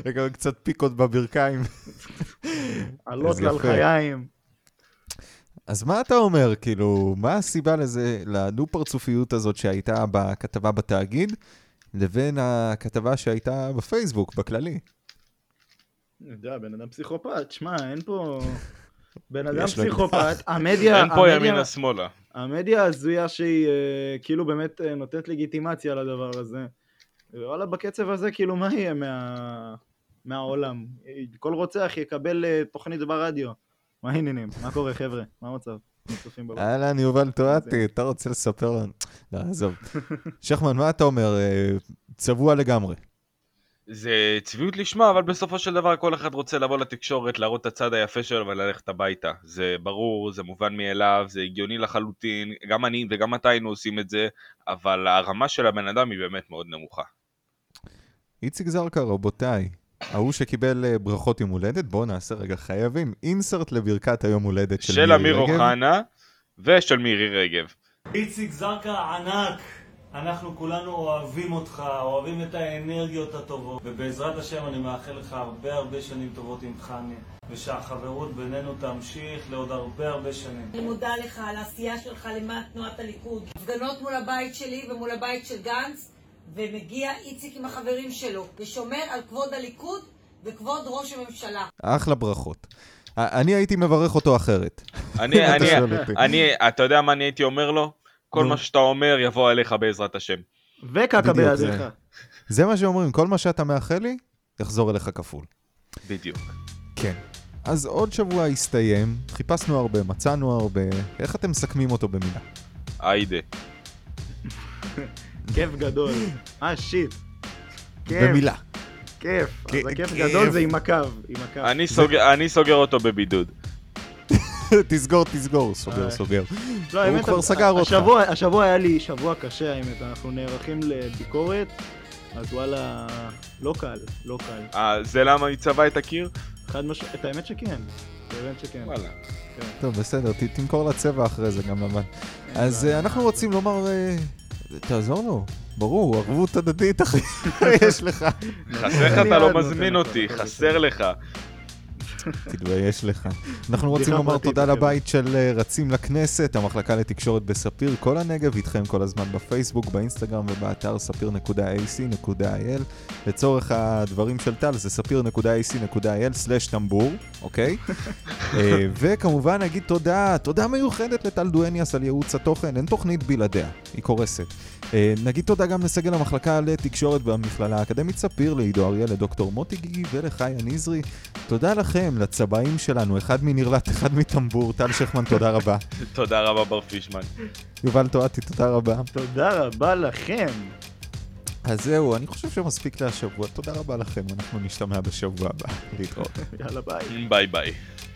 Speaker 1: וגם קצת פיקות בברכיים.
Speaker 3: עלות
Speaker 1: יפה.
Speaker 3: על חיים.
Speaker 1: אז מה אתה אומר, כאילו, מה הסיבה לזה, לדו-פרצופיות הזאת שהייתה בכתבה בתאגיד, לבין הכתבה שהייתה בפייסבוק, בכללי?
Speaker 3: אני יודע, בן אדם פסיכופת, שמע, אין פה... בן אדם
Speaker 1: יש לו
Speaker 3: פסיכופת, המדיה,
Speaker 2: אין פה
Speaker 3: המדיה-
Speaker 2: ימינה שמאלה.
Speaker 3: המדיה הזויה שהיא אה, כאילו באמת אה, נותנת לגיטימציה לדבר הזה. וואלה, בקצב הזה, כאילו, מה יהיה מה... מהעולם? כל רוצח יקבל אה, תוכנית ברדיו. מה העניינים? מה קורה, חבר'ה? מה המצב? אתם צופים בבית.
Speaker 1: אהלן, יובל טואטי, אתה רוצה לספר לנו? לא, עזוב. שחמן, מה אתה אומר? אה, צבוע לגמרי.
Speaker 2: זה צביעות לשמה, אבל בסופו של דבר כל אחד רוצה לבוא לתקשורת, להראות את הצד היפה שלו וללכת הביתה. זה ברור, זה מובן מאליו, זה הגיוני לחלוטין, גם אני וגם אתה היינו עושים את זה, אבל הרמה של הבן אדם היא באמת מאוד נמוכה.
Speaker 1: איציק זרקא, רבותיי, ההוא שקיבל אה, ברכות יום הולדת, בואו נעשה רגע חייבים אינסרט לברכת היום הולדת של,
Speaker 2: של
Speaker 1: מירי
Speaker 2: אמיר
Speaker 1: רגב.
Speaker 2: אוחנה ושל מירי רגב.
Speaker 6: איציק זרקא ענק, אנחנו כולנו אוהבים אותך, אוהבים את האנרגיות הטובות, ובעזרת השם אני מאחל לך הרבה הרבה שנים טובות עם חני, ושהחברות בינינו תמשיך לעוד הרבה הרבה שנים.
Speaker 7: אני מודה לך על העשייה שלך למען תנועת הליכוד. הפגנות מול הבית שלי ומול הבית של גנץ, ומגיע איציק עם החברים שלו, ושומר על כבוד הליכוד וכבוד ראש הממשלה.
Speaker 1: אחלה ברכות. א- אני הייתי מברך אותו אחרת.
Speaker 2: אני,
Speaker 1: אתה
Speaker 2: אני,
Speaker 1: שואל אותי.
Speaker 2: אני, אתה יודע מה אני הייתי אומר לו? כל
Speaker 1: נו.
Speaker 2: מה שאתה אומר יבוא אליך בעזרת השם.
Speaker 3: וקקה
Speaker 1: בדיוק, זה-
Speaker 3: בידיך.
Speaker 1: זה מה שאומרים, כל מה שאתה מאחל לי, יחזור אליך כפול.
Speaker 2: בדיוק.
Speaker 1: כן. אז עוד שבוע הסתיים, חיפשנו הרבה, מצאנו הרבה, איך אתם מסכמים אותו במילה?
Speaker 2: היידה.
Speaker 3: כיף גדול. אה, שיט. כיף,
Speaker 1: במילה.
Speaker 3: כיף.
Speaker 1: כ-
Speaker 3: אז הכיף
Speaker 1: כיף.
Speaker 3: גדול זה עם הקו, עם הקו.
Speaker 2: אני סוגר- אני סוגר אותו בבידוד.
Speaker 1: תסגור, תסגור, סוגר,
Speaker 3: אה.
Speaker 1: סוגר. הוא
Speaker 3: לא, האמת,
Speaker 1: כבר
Speaker 3: הש-
Speaker 1: סגר אותך.
Speaker 3: השבוע, השבוע היה לי שבוע קשה, האמת, אנחנו נערכים לביקורת, אז וואלה, לא קל, לא קל.
Speaker 2: אה, זה למה היא צבעה את הקיר?
Speaker 3: חד משמעית, את האמת שכן. את האמת שכן.
Speaker 2: וואלה.
Speaker 1: טוב, בסדר, ת- תמכור לצבע אחרי זה גם לבן. אז אה, אנחנו רוצים לומר, אה, תעזור לו, ברור, ערבות הדדית, אחי, יש לך.
Speaker 2: חסר לך
Speaker 3: אני
Speaker 2: אתה
Speaker 3: עד
Speaker 2: לא
Speaker 3: נותן
Speaker 2: מזמין
Speaker 3: הכל,
Speaker 2: אותי,
Speaker 3: הכל
Speaker 2: חסר לך.
Speaker 1: תתבייש לך. אנחנו רוצים
Speaker 3: בדיחה
Speaker 1: לומר
Speaker 3: פרטית,
Speaker 1: תודה
Speaker 3: אוקיי.
Speaker 1: לבית של אה, רצים לכנסת, המחלקה לתקשורת בספיר, כל הנגב איתכם כל הזמן בפייסבוק, באינסטגרם ובאתר sapir.ac.il. לצורך הדברים של טל זה sapir.ac.il/טמבור, אוקיי? אה, וכמובן נגיד תודה, תודה מיוחדת לטל דואניאס על ייעוץ התוכן, אין תוכנית בלעדיה, היא קורסת. אה, נגיד תודה גם לסגל המחלקה לתקשורת במכללה האקדמית ספיר, לעידו אריה, לדוקטור מוטי גיגי ולחיה נזרי. תודה לכם, לצבעים שלנו, אחד מנרלט, אחד מטמבור, טל שכמן, תודה רבה.
Speaker 2: תודה רבה בר פישמן.
Speaker 1: יובל טואטי, תודה רבה.
Speaker 3: תודה רבה לכם.
Speaker 1: אז זהו, אני חושב שמספיק להשבוע. תודה רבה לכם, אנחנו נשתמע בשבוע הבא. להתראות.
Speaker 3: יאללה ביי.
Speaker 2: ביי ביי.